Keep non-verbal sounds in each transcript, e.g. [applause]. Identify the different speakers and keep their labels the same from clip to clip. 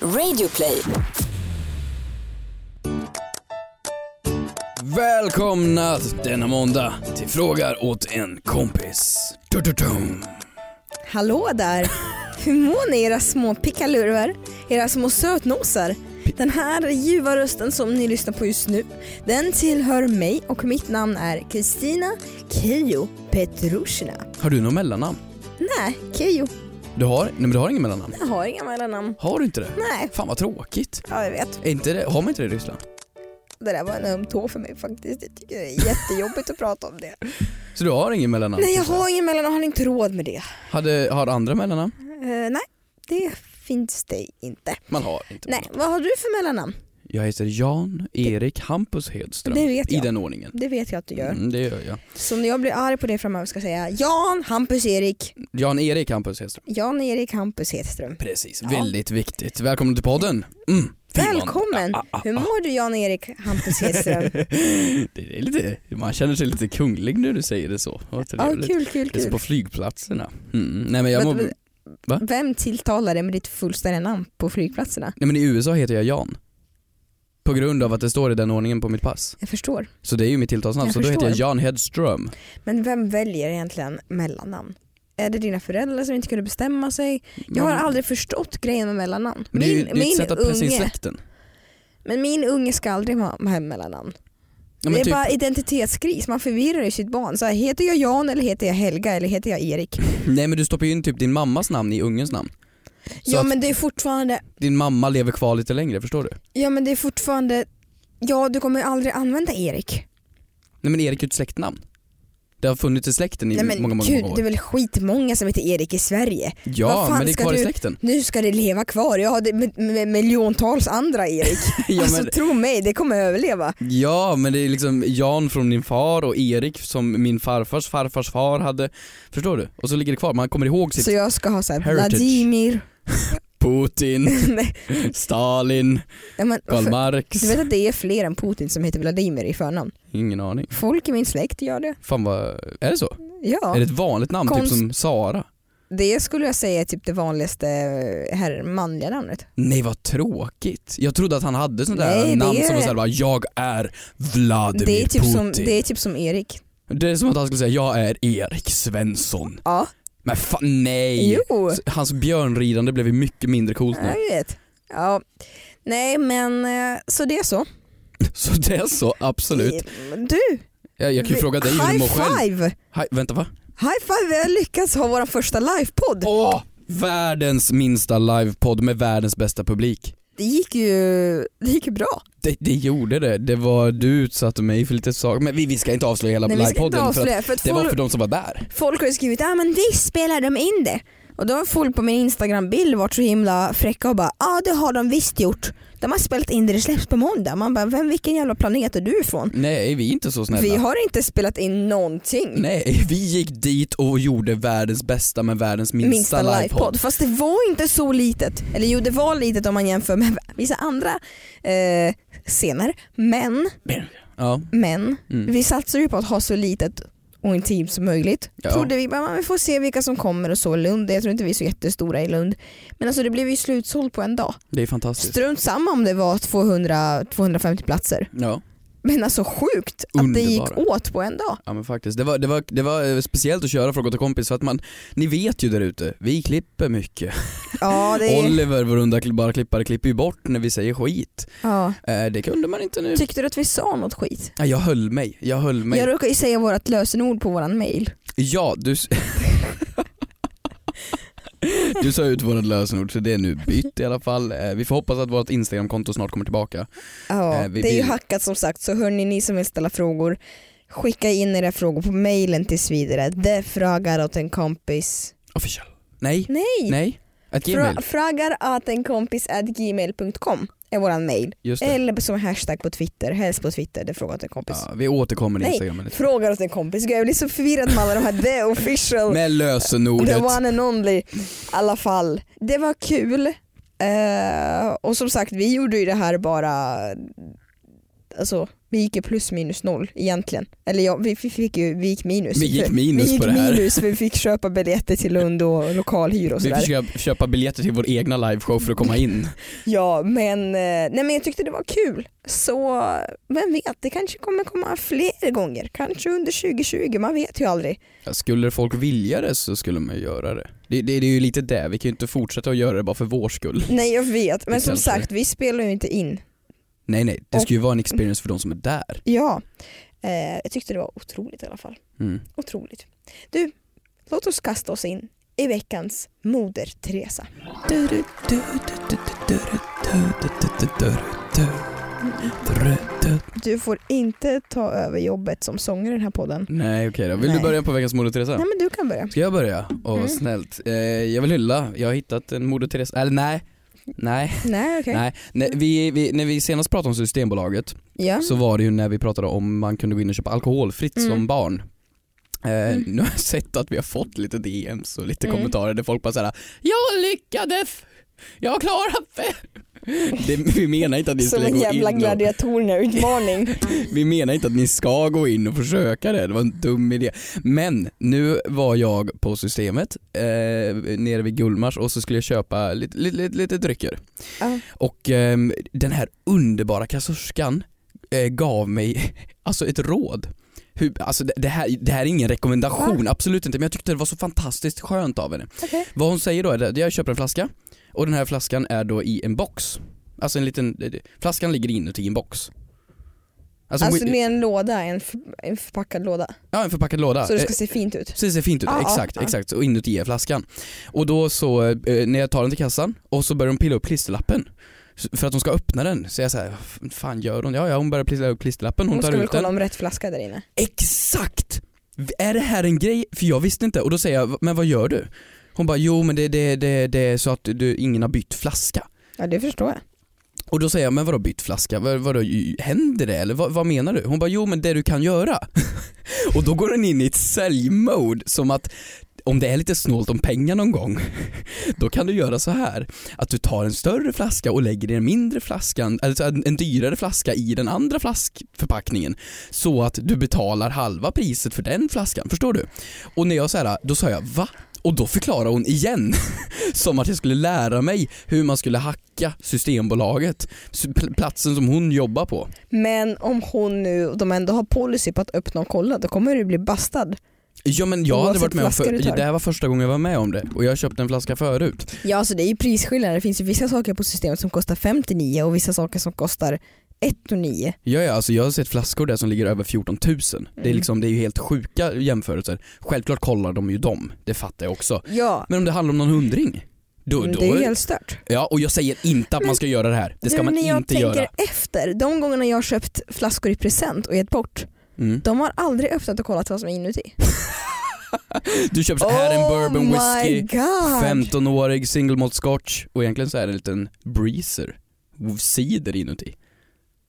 Speaker 1: Radioplay.
Speaker 2: Välkomna denna måndag till Frågar åt en kompis. Tututum.
Speaker 3: Hallå där! Hur mår ni era små pickalurvar? Era små sötnosar? Den här ljuva rösten som ni lyssnar på just nu, den tillhör mig och mitt namn är Kristina Keijo Petrushina.
Speaker 2: Har du något mellannamn?
Speaker 3: Nej, Keijo.
Speaker 2: Du har, nej men du har inget mellannamn?
Speaker 3: Jag har inga mellannamn.
Speaker 2: Har du inte det?
Speaker 3: Nej,
Speaker 2: Fan vad tråkigt.
Speaker 3: ja jag vet.
Speaker 2: Är inte det, har man inte det i Ryssland?
Speaker 3: Det där var en öm tå för mig faktiskt. Jag tycker det är jättejobbigt att prata om det.
Speaker 2: Så du har inget mellannamn?
Speaker 3: Nej jag har ingen mellannamn, har ni inte råd med det?
Speaker 2: Hade, har andra mellannamn?
Speaker 3: Eh, nej, det finns det inte.
Speaker 2: Man har inte.
Speaker 3: Nej, vad har du för mellannamn?
Speaker 2: Jag heter Jan Erik Hampus Hedström.
Speaker 3: Det vet
Speaker 2: I
Speaker 3: jag.
Speaker 2: den ordningen.
Speaker 3: Det vet jag att du gör.
Speaker 2: Mm, det gör jag.
Speaker 3: Så när jag blir arg på det framöver ska jag säga Jan Hampus Erik,
Speaker 2: Jan Erik Hampus Hedström.
Speaker 3: Jan Erik Hampus Hedström.
Speaker 2: Precis,
Speaker 3: Ja.
Speaker 2: väldigt viktigt. Välkommen till podden. Mm. Fy fan.
Speaker 3: Välkommen!
Speaker 2: Ah, ah, ah.
Speaker 3: Hur mår du Jan Erik Hampus
Speaker 2: [laughs]
Speaker 3: Hedström?
Speaker 2: Det är lite, man känner sig lite kunglig när du säger det så. Vad
Speaker 3: Ja,
Speaker 2: trevligt.
Speaker 3: kul, kul,
Speaker 2: Det är så
Speaker 3: kul.
Speaker 2: Alltså, på flygplatserna. Mm. Nej, men jag
Speaker 3: Vänta,
Speaker 2: mår...
Speaker 3: vänta.
Speaker 2: Va?
Speaker 3: Vem tilltalar dig med ditt fullständiga namn på flygplatserna?
Speaker 2: Nej, men I USA heter jag Jan. På grund av att det står i den ordningen på mitt pass.
Speaker 3: Jag förstår.
Speaker 2: Så det är ju mitt tilltalsnamn.
Speaker 3: Jag
Speaker 2: Så då heter jag
Speaker 3: förstår.
Speaker 2: Jan Hedström.
Speaker 3: Men vem väljer egentligen mellannamn? Är det dina föräldrar som inte kunde bestämma sig? Jag har
Speaker 2: Men-
Speaker 3: aldrig förstått grejen med mellannamn.
Speaker 2: Mm. Men det är ju
Speaker 3: Min,
Speaker 2: det är ett
Speaker 3: min,
Speaker 2: sätt att pressa in
Speaker 3: unge,
Speaker 2: släkten.
Speaker 3: men min unge ska aldrig ha ha mellannamn.
Speaker 2: Ja,
Speaker 3: det
Speaker 2: men
Speaker 3: är
Speaker 2: typ,
Speaker 3: bara identitetskris, man förvirrar ju sitt barn. Så här, heter jag Jan eller heter jag Helga eller heter jag Erik?
Speaker 2: Nej men du stoppar ju in typ din mammas namn i ungens namn. Så
Speaker 3: ja
Speaker 2: att
Speaker 3: men det är fortfarande,
Speaker 2: din mamma lever kvar lite längre, förstår du?
Speaker 3: ja men det är fortfarande, ja du kommer ju aldrig använda Erik.
Speaker 2: Nej men Erik är ju ett släktnamn. Det har funnits i släkten i
Speaker 3: Nej men
Speaker 2: många, många,
Speaker 3: gud
Speaker 2: många
Speaker 3: det är
Speaker 2: år.
Speaker 3: väl skitmånga som heter Erik i Sverige.
Speaker 2: Ja
Speaker 3: vad fan
Speaker 2: men det är
Speaker 3: ska
Speaker 2: kvar i
Speaker 3: du- [laughs]
Speaker 2: släkten.
Speaker 3: Nu ska det leva kvar, jag har det med, med miljontals andra Erik.
Speaker 2: [laughs] ja,
Speaker 3: alltså
Speaker 2: men,
Speaker 3: tro mig, det kommer överleva.
Speaker 2: ja men det är liksom Jan från din far och Erik som min farfars farfars far hade. Förstår du? Och så ligger det kvar, man kommer ihåg sitt
Speaker 3: Så jag ska ha såhär
Speaker 2: Heritage.
Speaker 3: Vladimir, [laughs]
Speaker 2: Putin,
Speaker 3: nej
Speaker 2: Stalin,
Speaker 3: ja, men,
Speaker 2: Karl
Speaker 3: för,
Speaker 2: Marx.
Speaker 3: Alltså, du vet att det är fler än Putin som heter Vladimir i förnamn?
Speaker 2: Ingen aning.
Speaker 3: Folk i min släkt gör det.
Speaker 2: Fan vad, är det så?
Speaker 3: Ja.
Speaker 2: Är det ett vanligt namn,
Speaker 3: Konst-
Speaker 2: typ som Sara?
Speaker 3: Det skulle jag säga är typ det vanligaste eh, här manliga namnet.
Speaker 2: Nej vad tråkigt. Jag trodde att han hade sånt där
Speaker 3: Nej, det
Speaker 2: namn
Speaker 3: är-
Speaker 2: som var såhär bara, jag är Vladimir
Speaker 3: Det är, typ
Speaker 2: Putin.
Speaker 3: som, det är typ som Erik.
Speaker 2: Det är som att han skulle säga, jag är Erik Svensson.
Speaker 3: Ja,
Speaker 2: Men fan nej!
Speaker 3: jo.
Speaker 2: S- Hans björnridande blev ju mycket mindre coolt
Speaker 3: Ja,
Speaker 2: nu.
Speaker 3: jag vet. Ja. Nej men eh, så det är så.
Speaker 2: [laughs] Så det är så, absolut.
Speaker 3: Du!
Speaker 2: Jag, jag kan ju fråga dig hur du
Speaker 3: high
Speaker 2: mår själv.
Speaker 3: five!
Speaker 2: Hi, vänta va?
Speaker 3: High five, vi har lyckats ha vår första livepodd.
Speaker 2: Åh! Världens minsta livepodd med världens bästa publik.
Speaker 3: Det gick ju det gick ju bra.
Speaker 2: Det, det gjorde det. Det var, du utsatte mig för lite saker. Men vi, vi ska inte avslöja hela
Speaker 3: Nej, vi ska inte
Speaker 2: livepodden för att
Speaker 3: avslöja för att
Speaker 2: det var
Speaker 3: folk,
Speaker 2: för de som var där.
Speaker 3: folk har ju skrivit ah, men visst spelar de in det. Och då har folk på min instagram-bild varit så himla fräcka och bara ja ah, det har de visst gjort. De har spelat in det, det släpps på måndag. Man bara vem, vilken jävla planet är du ifrån?
Speaker 2: Nej, vi är inte så snälla.
Speaker 3: Vi har inte spelat in någonting.
Speaker 2: Nej, vi gick dit och gjorde världens bästa med världens minsta,
Speaker 3: minsta livepodd.
Speaker 2: livepodd.
Speaker 3: Fast det var inte så litet. Eller jo det var litet om man jämför med [laughs] vissa andra eh, scener. Men,
Speaker 2: Ja,
Speaker 3: men
Speaker 2: Mm.
Speaker 3: vi satsar ju på att ha så litet och intimt som möjligt.
Speaker 2: Ja.
Speaker 3: Trodde vi, bara, "Men vi får se vilka som kommer och så i Lund. Jag tror inte vi är så jättestora i Lund. Men alltså det blev ju slutsålt på en dag.
Speaker 2: det är fantastiskt.
Speaker 3: Strunt samma om det var 200, 250 platser.
Speaker 2: Ja,
Speaker 3: Men alltså sjukt att det gick
Speaker 2: Underbara.
Speaker 3: åt på
Speaker 2: [laughs]
Speaker 3: en dag.
Speaker 2: ja men faktiskt. Det var, det, var, det var eh, speciellt att köra Fråga till kompis för att man, ni vet ju där ute, vi klipper mycket.
Speaker 3: Ja, det är,
Speaker 2: Oliver, vår underbara klippare, klipper ju bort när vi säger skit.
Speaker 3: ja.
Speaker 2: Eh, det kunde man inte nu.
Speaker 3: Tyckte du att vi sa något skit?
Speaker 2: Ja, Jag höll mig, jag höll mig.
Speaker 3: Jag råkar ju säga vårt lösenord på våran mail.
Speaker 2: Ja, du... s- [laughs] Du sa ut vårt lösenord så det är nu bytt i alla fall. Eh, Vi får hoppas att vårt Instagramkonto snart kommer tillbaka.
Speaker 3: Ja,
Speaker 2: Eh, vi-
Speaker 3: det är ju
Speaker 2: vi-
Speaker 3: hackat som sagt så hörni ni som vill ställa frågor skicka in era frågor på mejlen tills vidare. Det frågar åt en kompis.
Speaker 2: Official. Nej,
Speaker 3: Nej!
Speaker 2: nej. Att Gmail.
Speaker 3: Fra- frågar åt en kompis at gmail.com är våran mejl.
Speaker 2: Just det.
Speaker 3: Eller som hashtag på Twitter, helst på Twitter, det frågar åt en kompis.
Speaker 2: Ja, vi återkommer i
Speaker 3: Nej.
Speaker 2: Instagram. lite.
Speaker 3: Frågar åt en kompis, Gud, jag blir så förvirrad med alla de här the official
Speaker 2: Med
Speaker 3: The
Speaker 2: lösenordet.
Speaker 3: one and only. I alla fall, det var kul. Eh, och som sagt, vi gjorde ju det här bara alltså, vi gick ju plus minus noll egentligen. Eller ja, vi, vi fick ju, vi gick minus.
Speaker 2: Vi gick
Speaker 3: För-
Speaker 2: minus
Speaker 3: vi gick
Speaker 2: på det här.
Speaker 3: minus, vi fick köpa biljetter till Lund och lokalhyra och
Speaker 2: Vi
Speaker 3: sådär.
Speaker 2: fick köpa, köpa biljetter till vår egna liveshow för att komma in.
Speaker 3: Ja men, eh, nej, men jag tyckte det var kul. Så vem vet, det kanske kommer komma fler gånger. Kanske under 2020, man vet ju aldrig.
Speaker 2: Ja, Skulle folk vilja det så skulle man ju göra det. Det, det. det är ju lite det, vi kan ju inte fortsätta att göra det bara för vår skull.
Speaker 3: Nej jag vet, men som
Speaker 2: kanske.
Speaker 3: sagt vi spelar ju inte in.
Speaker 2: Nej nej, det
Speaker 3: Och-
Speaker 2: ska ju vara en experience för de som är där.
Speaker 3: Ja, eh, jag tyckte det var otroligt i alla fall.
Speaker 2: Mm.
Speaker 3: Otroligt. Du, låt oss kasta oss in i veckans Moder Teresa. Du får inte ta över jobbet som sångare i den här podden.
Speaker 2: Nej okej då, vill
Speaker 3: Nej.
Speaker 2: du börja på veckans Moder Teresa?
Speaker 3: Nej men du kan börja.
Speaker 2: Ska jag börja? Åh vad
Speaker 3: Mm.
Speaker 2: snällt. Eh, jag vill hylla, jag har hittat en Moder Teresa, eller nej. Nej,
Speaker 3: Nej okej.
Speaker 2: nej. Nej, vi, vi, när vi senast pratade om Systembolaget
Speaker 3: Ja.
Speaker 2: så var det ju när vi pratade om man kunde gå in och köpa alkoholfritt
Speaker 3: Mm.
Speaker 2: som barn. Eh,
Speaker 3: Mm.
Speaker 2: Nu har jag sett att vi har fått lite DMs och lite
Speaker 3: Mm.
Speaker 2: kommentarer där folk bara såhär “Jag lyckades! Jag har klarat det!” det, Vi menar inte att ni
Speaker 3: Som
Speaker 2: skulle
Speaker 3: en
Speaker 2: gå
Speaker 3: jävla
Speaker 2: in och, [laughs]
Speaker 3: gladiatorerna-utmaning.
Speaker 2: Vi menar inte att ni ska gå in och försöka det, det var en dum idé. Men nu var jag på systemet eh, nere vid Gullmars och så skulle jag köpa lite, lite, lite, lite drycker.
Speaker 3: Ja.
Speaker 2: Och ehm, den här underbara kassörskan eh, gav mig [laughs] alltså ett råd. Hur, alltså det, det, här, det här är ingen rekommendation, absolut inte, men jag tyckte det var så fantastiskt skönt av henne.
Speaker 3: Okej.
Speaker 2: Vad hon säger då är att jag köper en flaska och den här flaskan är då i en box. Alltså en liten, flaskan ligger inuti en box. Alltså,
Speaker 3: Alltså
Speaker 2: hon-
Speaker 3: med en låda, en, f- en förpackad låda.
Speaker 2: Ja, en förpackad låda.
Speaker 3: Så det
Speaker 2: Eh,
Speaker 3: ska se fint ut.
Speaker 2: Så det ser fint ut,
Speaker 3: Ja, ja,
Speaker 2: exakt,
Speaker 3: ja.
Speaker 2: exakt. Och inuti är flaskan. Och då så, eh, när jag tar den till kassan och så börjar de pilla upp klisterlappen. S- För att hon ska öppna den. Så jag säger, vad fan gör hon? Ja, ja hon börjar pilla upp klisterlappen, hon,
Speaker 3: Hon
Speaker 2: tar
Speaker 3: ska väl
Speaker 2: ut den.
Speaker 3: kolla om rätt flaska där inne.
Speaker 2: Exakt! V- Är det här en grej? För jag visste inte. Och då säger jag, "Va- men vad gör du? Hon bara, jo men det, det, det, det är så att du, ingen har bytt flaska.
Speaker 3: Ja det förstår jag.
Speaker 2: Och då säger jag, men vadå bytt flaska? Vad, vadå, y- händer det eller vad, vad menar du? Hon bara, jo men det du kan göra. [laughs] och då går den in i ett säljmode som att om det är lite snålt om pengar någon gång, [laughs] då kan du göra så här. Att du tar en större flaska och lägger den mindre flaskan, alltså en, en dyrare flaska i den andra flaskförpackningen. Så att du betalar halva priset för den flaskan, förstår du? Och när jag så här, då sa jag va? Och då förklarar hon igen, [laughs] som att jag skulle lära mig hur man skulle hacka Systembolaget, s- pl- platsen som hon jobbar på.
Speaker 3: Men om hon nu, de ändå har policy på att öppna och kolla, då kommer du bli bastad.
Speaker 2: Ja men jag hade
Speaker 3: Oavsett
Speaker 2: varit med om,
Speaker 3: flaska
Speaker 2: för,
Speaker 3: du tar.
Speaker 2: det här var första gången jag var med om det och jag köpte en flaska förut.
Speaker 3: Ja alltså det är ju prisskillnader, det finns ju vissa saker på systemet som kostar 59 och vissa saker som kostar 1 och 9.
Speaker 2: Ja, ja, alltså jag har sett flaskor där som ligger över 14 000. Det, är
Speaker 3: Mm.
Speaker 2: liksom, det är ju helt sjuka jämförelser. Självklart kollar de ju dem, det fattar jag också.
Speaker 3: Ja,
Speaker 2: Men om det handlar om någon hundring, då,
Speaker 3: men
Speaker 2: då
Speaker 3: det är ju helt stört.
Speaker 2: Ja, och jag säger inte att man ska göra det här. Det ska
Speaker 3: Nu
Speaker 2: man
Speaker 3: när jag
Speaker 2: inte
Speaker 3: tänker
Speaker 2: göra.
Speaker 3: efter, de gångerna jag har köpt flaskor i present och gett bort,
Speaker 2: Mm.
Speaker 3: de har aldrig öppnat och kollat vad som är inuti.
Speaker 2: Du köper så här en bourbon whisky,
Speaker 3: Oh my god!
Speaker 2: 15-årig single malt scotch och egentligen så är det en liten breezer, cider inuti.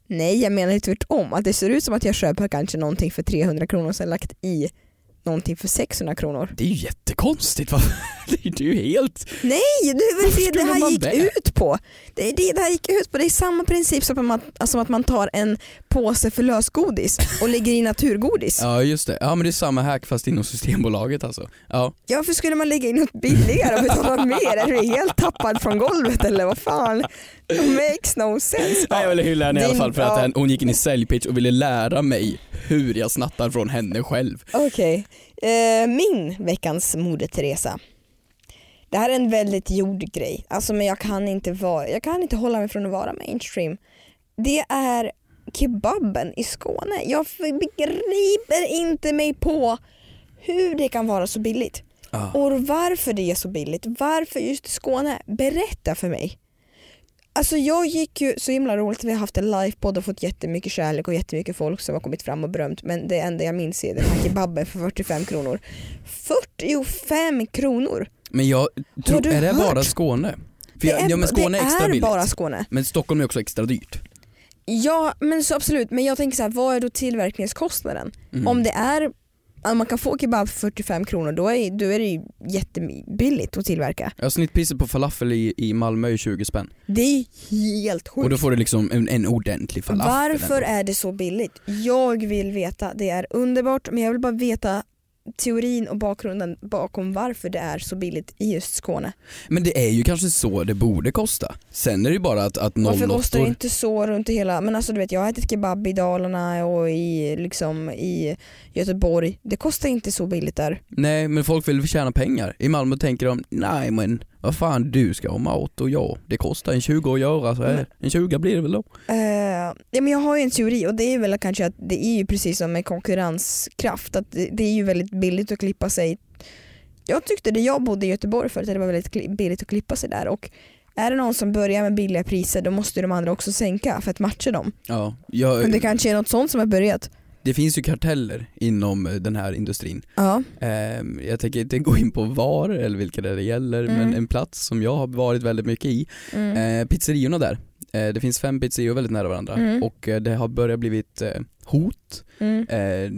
Speaker 3: Nej jag menar ju tvärtom, att det ser ut som att jag köper kanske någonting för 300 kronor och sen lagt i någonting för 600 kronor.
Speaker 2: Det är ju jättekonstigt [laughs] va? Det är ju helt...
Speaker 3: Nej, det är väl
Speaker 2: Varför
Speaker 3: det
Speaker 2: skulle
Speaker 3: det här
Speaker 2: man
Speaker 3: gick
Speaker 2: det?
Speaker 3: ut på. Det är det det här gick ut på. Det är samma princip som att man, som att man tar en påse för lösgodis och lägger i naturgodis.
Speaker 2: Ja just det, ja men det är samma hack fast inom Systembolaget alltså. Ja.
Speaker 3: Ja, varför skulle man lägga in något billigare och betala mer? Är du helt tappad från golvet eller vad fan? It makes no sense.
Speaker 2: Nej, jag ville hylla henne i alla
Speaker 3: Din-
Speaker 2: fall för att
Speaker 3: ja.
Speaker 2: hon- hon gick in i säljpitch och ville lära mig hur jag snattar från henne själv.
Speaker 3: Okej, eh, min veckans Moder Teresa. Det här är en väldigt gjord grej, alltså, men jag kan, inte vara, jag kan inte hålla mig från att vara mainstream. Det är kebaben i Skåne. Jag begriper inte mig på hur det kan vara så billigt.
Speaker 2: Ja.
Speaker 3: Och varför det är så billigt. Varför just Skåne? Berätta för mig. Alltså jag gick ju så himla roligt, vi har haft en livepodd och fått jättemycket kärlek och jättemycket folk som har kommit fram och berömt men det enda jag minns är den här kebaben för 45 kronor. 45 kronor!
Speaker 2: Men jag
Speaker 3: Har
Speaker 2: tror,
Speaker 3: du
Speaker 2: är det bara
Speaker 3: hört?
Speaker 2: Skåne? För jag, ja, men Skåne är
Speaker 3: det
Speaker 2: extra
Speaker 3: är
Speaker 2: billigt.
Speaker 3: bara Skåne.
Speaker 2: Men Stockholm är också extra dyrt.
Speaker 3: Ja men så absolut, men jag tänker så här, vad är då tillverkningskostnaden?
Speaker 2: Mm.
Speaker 3: Om det är ja, man kan få kebab för 45 kronor, då är, då är det ju jättebilligt att tillverka.
Speaker 2: Ja, snittpriset på falafel i, i Malmö är 20 spänn.
Speaker 3: Det är helt
Speaker 2: Och
Speaker 3: sjukt.
Speaker 2: då får du liksom en, en ordentlig falafel.
Speaker 3: Varför
Speaker 2: ändå.
Speaker 3: är det så billigt? Jag vill veta, det är underbart men jag vill bara veta teorin och bakgrunden bakom varför det är så billigt i just Skåne.
Speaker 2: Men det är ju kanske så det borde kosta. Sen är det ju bara att, att någon
Speaker 3: Varför kostar det
Speaker 2: lottor-
Speaker 3: inte så runt i hela, men alltså du vet jag har ätit kebab i Dalarna och i, liksom, i Göteborg. Det kostar inte så billigt där.
Speaker 2: Nej men folk vill tjäna pengar. I Malmö tänker de, nej men vad fan du ska ha mat och jag, det kostar en 20 att göra så här. En 20 blir det väl då.
Speaker 3: Eh, ja, men jag har ju en teori och det är väl kanske att det är ju precis som med konkurrenskraft. Att det, det är ju väldigt billigt att klippa sig. Jag tyckte det jag bodde i Göteborg förut att det var väldigt kli- billigt att klippa sig där. Och är det någon som börjar med billiga priser då måste ju de andra också sänka för att matcha dem.
Speaker 2: Ja,
Speaker 3: Men
Speaker 2: jag,
Speaker 3: det
Speaker 2: det,
Speaker 3: kanske är något sånt som har börjat.
Speaker 2: finns ju karteller inom eh, den här industrin.
Speaker 3: Ja.
Speaker 2: Ehm, jag tänker inte gå in på var eller vilka det gäller men
Speaker 3: Mm.
Speaker 2: en plats som jag har varit väldigt mycket i
Speaker 3: Mm.
Speaker 2: Eh, pizzeriorna där. Eh, det finns fem pizzerior väldigt nära varandra
Speaker 3: Mm.
Speaker 2: och eh, det har börjat blivit eh, hot.
Speaker 3: Mm.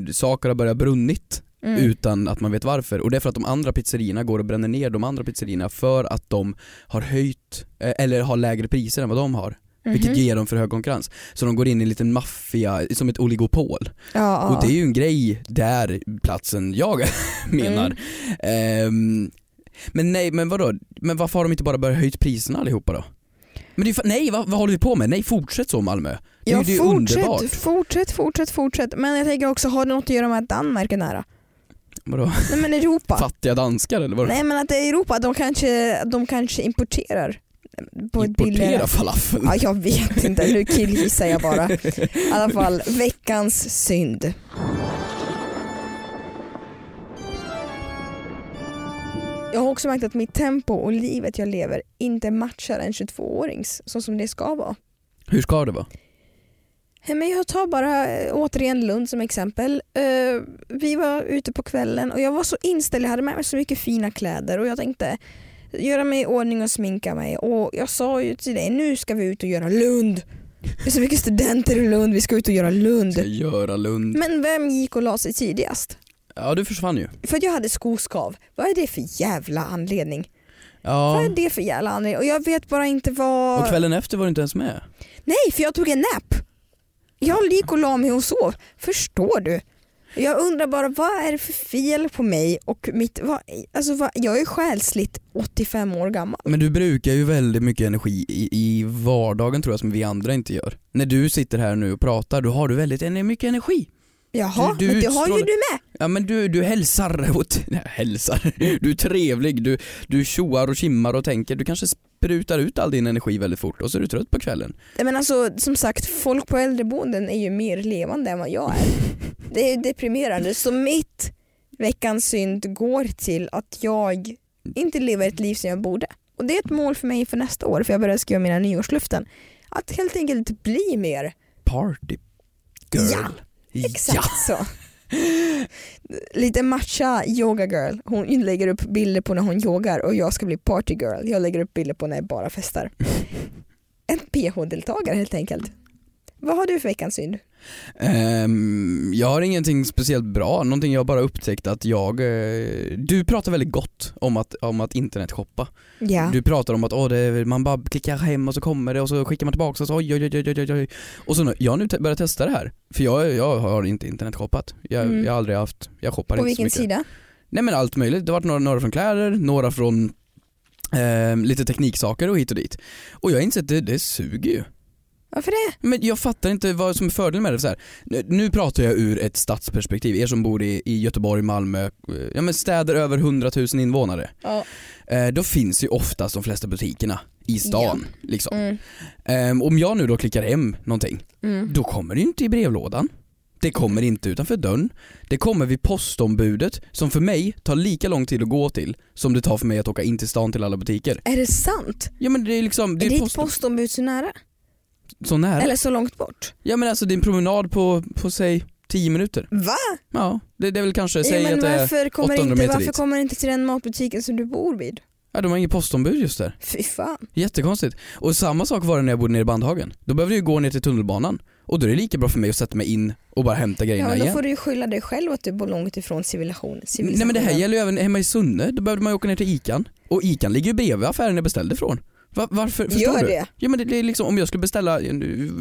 Speaker 2: Eh, saker har börjat brunnit
Speaker 3: Mm.
Speaker 2: utan att man vet varför och det är för att de andra pizzerierna går och bränner ner de andra pizzerierna för att de har höjt eh, eller har lägre priser än vad de har. Vilket
Speaker 3: Mhm.
Speaker 2: ger dem för hög konkurrens. Så de går in i en liten maffia, som ett oligopol.
Speaker 3: ja,
Speaker 2: Och det är ju en grej där platsen jag [laughs] menar.
Speaker 3: Mm.
Speaker 2: Ehm, men nej, men vadå? Men varför har de inte bara börjat höjt priserna allihopa då? Men det är, fa- nej, vad, vad håller vi på med? Nej, fortsätt så Malmö. Det, är ju-
Speaker 3: ja,
Speaker 2: det är underbart.
Speaker 3: fortsätt, fortsätt, fortsätt, fortsätt. Men jag tänker också, har det något att göra med att Danmark är nära?
Speaker 2: Vadå?
Speaker 3: Nej
Speaker 2: [laughs]
Speaker 3: men Europa.
Speaker 2: Fattiga danskar eller vadå?
Speaker 3: Nej men att det är Europa, de kanske, de kanske importerar på ett billigare...
Speaker 2: Importera falafeln.
Speaker 3: Ja, jag vet inte, nu killgissar jag bara. I alla fall, veckans synd. Jag har också märkt att mitt tempo och livet jag lever inte matchar en 22-årings så som det ska vara.
Speaker 2: Hur ska det vara?
Speaker 3: Nej, Men jag tar bara eh, återigen Lund som exempel. Eh, vi var ute på kvällen och jag var så inställd, jag hade med mig så mycket fina kläder och jag tänkte göra mig i ordning och sminka mig och jag sa ju till dig, nu ska vi ut och göra Lund. Det är så mycket studenter i Lund, vi ska ut och göra
Speaker 2: Ska
Speaker 3: Lund.
Speaker 2: göra Lund.
Speaker 3: Men vem gick och la sig tidigast?
Speaker 2: Ja, du försvann ju.
Speaker 3: För att jag hade skoskav. Vad är det för jävla anledning? Vad
Speaker 2: Ja.
Speaker 3: är det för jävla anledning? Och jag vet bara inte vad...
Speaker 2: Och kvällen efter var du inte ens med.
Speaker 3: Nej, för jag tog en nap. Jag gick och la mig och sov. Förstår du? Jag undrar bara vad är det för fel på mig och mitt... Vad, alltså, vad, jag är själsligt 85 år gammal.
Speaker 2: Men du brukar ju väldigt mycket energi i, i vardagen tror jag som vi andra inte gör. När du sitter här nu och pratar då har du väldigt ener- mycket energi.
Speaker 3: Jaha,
Speaker 2: Du- du
Speaker 3: men det har ju
Speaker 2: utstrålar-
Speaker 3: du med.
Speaker 2: Ja men du, du hälsar [laughs] och t- nej, hälsar, du är trevlig, du, du tjoar och kimmar och tänker, du kanske sprutar ut all din energi väldigt fort och så är du trött på kvällen.
Speaker 3: Nej, Men alltså, som sagt, folk på äldreboenden är ju mer levande än vad jag är. Det är ju deprimerande. Så mitt veckans synd går till att jag inte lever ett liv som jag borde. Och det är ett mål för mig för nästa år, för jag börjar skriva mina nyårslöften. Att helt enkelt bli mer
Speaker 2: Party girl.
Speaker 3: Ja,
Speaker 2: Ja.
Speaker 3: Exakt så. Lite matcha yoga girl. Hon lägger upp bilder på när hon yogar och jag ska bli party girl. Jag lägger upp bilder på när jag bara [laughs] festar. En PH-deltagare helt enkelt. Vad har du för veckans synd?
Speaker 2: Ehm, jag har ingenting speciellt bra, någonting jag bara upptäckt att jag, eh, du pratar väldigt gott om att, om att internetshoppa.
Speaker 3: Ja.
Speaker 2: Du pratar om att åh, det, är- man bara klickar hem och så kommer det och så skickar man tillbaka och så oj oj oj oj oj. oj. Och så nu, jag har nu te- börjat testa det här, för jag, jag har inte internetshoppat. Jag,
Speaker 3: Mm.
Speaker 2: jag har aldrig haft, jag shoppar
Speaker 3: på
Speaker 2: inte så
Speaker 3: vilken
Speaker 2: mycket.
Speaker 3: sida?
Speaker 2: Nej men allt möjligt. Det har varit några, några från kläder, några från eh, lite tekniksaker och hit och dit. Och jag har insett att det, det suger ju.
Speaker 3: Varför det?
Speaker 2: Men jag fattar inte vad som är fördelen med det. Så här, nu, nu pratar jag ur ett stadsperspektiv, er som bor i, i Göteborg, Malmö, eh, ja, men städer över 100 000 invånare.
Speaker 3: Ja.
Speaker 2: Eh, då finns ju oftast de flesta butikerna i stan. Liksom.
Speaker 3: Mm.
Speaker 2: Eh, om jag nu då klickar hem någonting,
Speaker 3: Mm.
Speaker 2: då kommer det ju inte i brevlådan. Det kommer inte utanför dörren. Det kommer vid postombudet som för mig tar lika lång tid att gå till som det tar för mig att åka in till stan till alla butiker.
Speaker 3: Är det sant?
Speaker 2: Ja men det är liksom, det
Speaker 3: är
Speaker 2: är,
Speaker 3: ditt
Speaker 2: post,
Speaker 3: postombud så nära?
Speaker 2: så nära.
Speaker 3: Eller så långt bort?
Speaker 2: Ja men alltså det är en promenad på, på säg 10 minuter.
Speaker 3: Va?
Speaker 2: Ja, det, det är väl kanske,
Speaker 3: Ja,
Speaker 2: säg
Speaker 3: men
Speaker 2: att det är
Speaker 3: varför kommer
Speaker 2: 800
Speaker 3: inte,
Speaker 2: meter
Speaker 3: varför
Speaker 2: dit.
Speaker 3: kommer inte till den matbutiken som du bor vid?
Speaker 2: Ja, de har inget postombud just där.
Speaker 3: Fy fan.
Speaker 2: Jättekonstigt. Och samma sak var det när jag bodde nere i Bandhagen. Då behövde jag ju gå ner till tunnelbanan. Och då är det lika bra för mig att sätta mig in och bara hämta
Speaker 3: Ja,
Speaker 2: grejerna
Speaker 3: men då
Speaker 2: igen.
Speaker 3: får du ju skylla dig själv att du bor långt ifrån civilisation.
Speaker 2: Nej men det här gäller ju även hemma i Sunne, då behövde man ju åka ner till Ican. Och Ican ligger ju bredvid affären jag beställde från. Va, varför? Förstår
Speaker 3: Gör
Speaker 2: du?
Speaker 3: det?
Speaker 2: Ja men det, det är liksom om jag skulle beställa eh,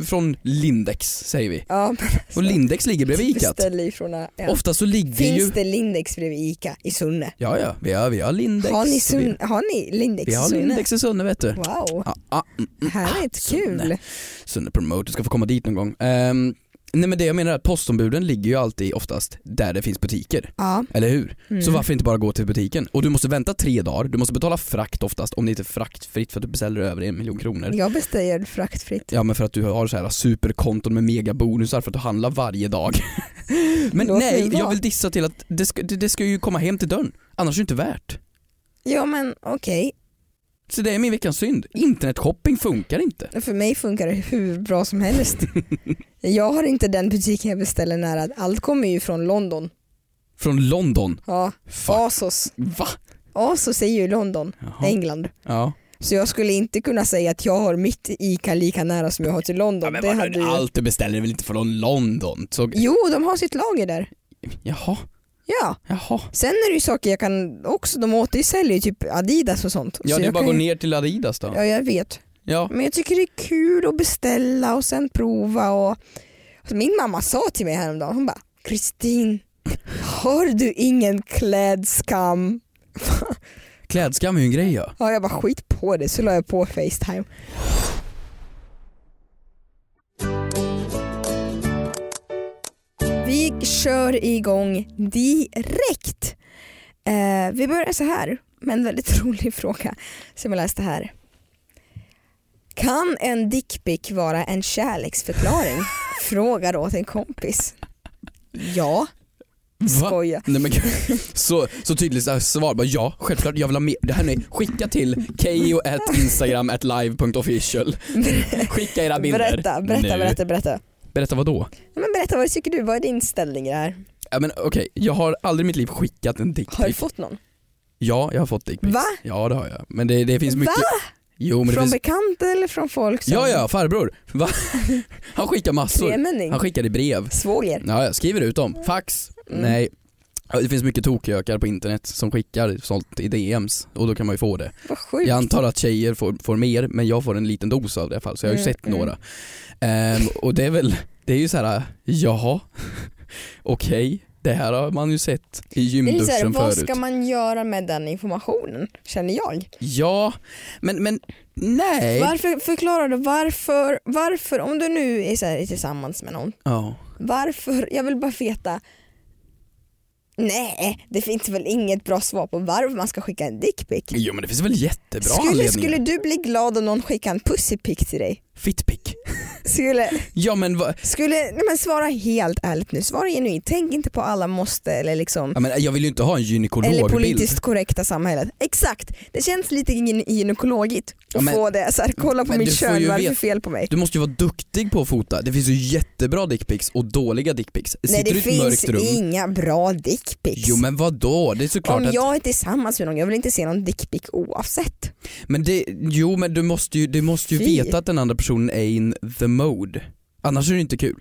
Speaker 2: från Lindex säger vi.
Speaker 3: Ja, men
Speaker 2: Och Lindex ligger bredvid Ica.
Speaker 3: beställ ifrån det. Ja.
Speaker 2: Ofta så ligger
Speaker 3: Finns
Speaker 2: ju...
Speaker 3: det Lindex bredvid Ica i Sunne?
Speaker 2: Ja ja, vi har, vi har Lindex.
Speaker 3: Har ni,
Speaker 2: och vi,
Speaker 3: sun, har ni Lindex
Speaker 2: vi
Speaker 3: i
Speaker 2: har
Speaker 3: Sunne?
Speaker 2: Lindex i Sunne vet du.
Speaker 3: Wow,
Speaker 2: Ja, mm, ja,
Speaker 3: härligt,
Speaker 2: Sunne.
Speaker 3: kul.
Speaker 2: Sunne Promote, du ska få komma dit någon gång. Ehm, nej men det jag menar är att postombuden ligger ju alltid oftast där det finns butiker,
Speaker 3: Ja.
Speaker 2: eller hur?
Speaker 3: Mm.
Speaker 2: Så varför inte bara gå till butiken? Och du måste vänta tre dagar, du måste betala frakt oftast om det inte är fraktfritt för att du beställer över en miljon kronor.
Speaker 3: Jag beställer fraktfritt.
Speaker 2: Ja men för att du har så här superkonton med megabonusar för att du handlar varje dag. [laughs] men
Speaker 3: Låt mig
Speaker 2: nej,
Speaker 3: vara.
Speaker 2: jag vill dissa till att det ska, det, det ska ju komma hem till dörren, annars är det inte värt.
Speaker 3: Ja men okej,
Speaker 2: Så det är min veckans synd. Internetshopping funkar inte.
Speaker 3: för mig funkar det hur bra
Speaker 2: [laughs]
Speaker 3: som helst. jag har inte den butiken jag beställer nära. Allt kommer ju från London.
Speaker 2: Från London.
Speaker 3: Ja.
Speaker 2: Fuck.
Speaker 3: Asos.
Speaker 2: Va?
Speaker 3: Asos är ju London,
Speaker 2: Jaha.
Speaker 3: England.
Speaker 2: Ja.
Speaker 3: Så jag skulle inte kunna säga att jag har mitt ICA lika nära som jag har till
Speaker 2: Ja,
Speaker 3: London.
Speaker 2: men
Speaker 3: det
Speaker 2: vadå,
Speaker 3: hade ju...
Speaker 2: Allt du beställer är väl inte från London? Så,
Speaker 3: Jo, de har sitt lager där.
Speaker 2: jaha,
Speaker 3: Ja.
Speaker 2: jaha.
Speaker 3: Sen är det ju saker jag kan också, de återsäljer ju typ Adidas och sånt.
Speaker 2: Ja,
Speaker 3: Så
Speaker 2: det är
Speaker 3: jag
Speaker 2: bara att gå
Speaker 3: kan ju-
Speaker 2: ner till Adidas då.
Speaker 3: Ja, jag vet.
Speaker 2: Ja.
Speaker 3: Men jag tycker det är kul att beställa och sen prova och Alltså, min mamma sa till mig häromdagen, hon bara Kristin, har du ingen klädskam?
Speaker 2: Klädskam är ju en grej ja.
Speaker 3: Ja, jag bara skit på det, så la jag på Facetime. Vi kör igång direkt. Eh, vi börjar så här, med en väldigt [laughs] rolig fråga som jag läste här. Kan en dickpic vara
Speaker 2: [laughs]
Speaker 3: en kärleksförklaring? Frågar åt en kompis. Ja,
Speaker 2: Va?
Speaker 3: skoja.
Speaker 2: Nej, men, [laughs] så, så tydligt så här svar, bara ja, självklart jag vill ha mer. Det här nej, skicka till keyyo.instagram.live.official Skicka era bilder.
Speaker 3: Berätta, berätta,
Speaker 2: nu.
Speaker 3: berätta, berätta.
Speaker 2: Berätta vad då?
Speaker 3: Ja, Men berätta, vad tycker du? Vad är din ställning i det här?
Speaker 2: Ja, men, okej, jag har aldrig i mitt liv skickat en
Speaker 3: Har du
Speaker 2: dickpic.
Speaker 3: fått någon?
Speaker 2: Ja, jag har fått dickpics.
Speaker 3: Va?
Speaker 2: Ja det har jag. Men det, det finns mycket.
Speaker 3: Va?
Speaker 2: Jo, men det
Speaker 3: Från
Speaker 2: finns...
Speaker 3: bekanta eller från folk som...
Speaker 2: Ja, ja, farbror. Va? [laughs] Han skickar massor.
Speaker 3: Tremänning?
Speaker 2: Han skickade brev.
Speaker 3: Svåger?
Speaker 2: Ja, jag skriver ut dem. Fax?
Speaker 3: Mm.
Speaker 2: Nej. Ja, Det finns mycket tokökar på internet som skickar sånt i DMs och då kan man ju få det.
Speaker 3: Vad sjukt.
Speaker 2: Jag antar att tjejer får, får mer men jag får en liten dos av det i alla fall så jag har ju
Speaker 3: Mm,
Speaker 2: sett
Speaker 3: mm.
Speaker 2: några. Ehm, och det är väl, det är ju så här, jaha, [laughs] okej, det här har man ju sett i
Speaker 3: det är lite så här,
Speaker 2: gymduschen
Speaker 3: vad
Speaker 2: förut.
Speaker 3: ska man göra med den informationen? Känner jag.
Speaker 2: Ja, men, men nej.
Speaker 3: Varför, förklara då, varför, varför, om du nu är så här, tillsammans med någon,
Speaker 2: Ja.
Speaker 3: varför, jag vill bara veta Nej, det finns väl inget bra svar på varför man ska skicka en dickpic?
Speaker 2: Jo men det finns väl jättebra
Speaker 3: Skulle,
Speaker 2: anledningar.
Speaker 3: skulle du bli glad om någon skickade en pussypic till dig?
Speaker 2: Fittpick.
Speaker 3: Skulle,
Speaker 2: Ja men, va...
Speaker 3: skulle, nej men svara helt ärligt nu, svara genuint. Tänk inte på alla måste eller liksom
Speaker 2: ja, men jag vill ju inte ha en gynekologbild.
Speaker 3: Eller politiskt korrekta samhället. Exakt, det känns lite gyn- gynekologigt att
Speaker 2: Ja, men-
Speaker 3: få det, så här, kolla på
Speaker 2: men du
Speaker 3: mitt
Speaker 2: får ju
Speaker 3: kön, vad är det
Speaker 2: veta-
Speaker 3: för fel på mig?
Speaker 2: Du måste ju vara duktig på att fota. Det finns ju jättebra dickpics och dåliga dickpics.
Speaker 3: Nej
Speaker 2: Sitter
Speaker 3: det
Speaker 2: du i ett mörkt
Speaker 3: finns
Speaker 2: rum?
Speaker 3: inga bra dickpics.
Speaker 2: Jo men vadå? Det är såklart
Speaker 3: Om
Speaker 2: att...
Speaker 3: jag är tillsammans med någon, jag vill inte se någon dickpic oavsett.
Speaker 2: Men det... Jo men du måste ju, du måste ju
Speaker 3: Fy.
Speaker 2: veta att den andra personen är in the mode. Annars är det inte kul.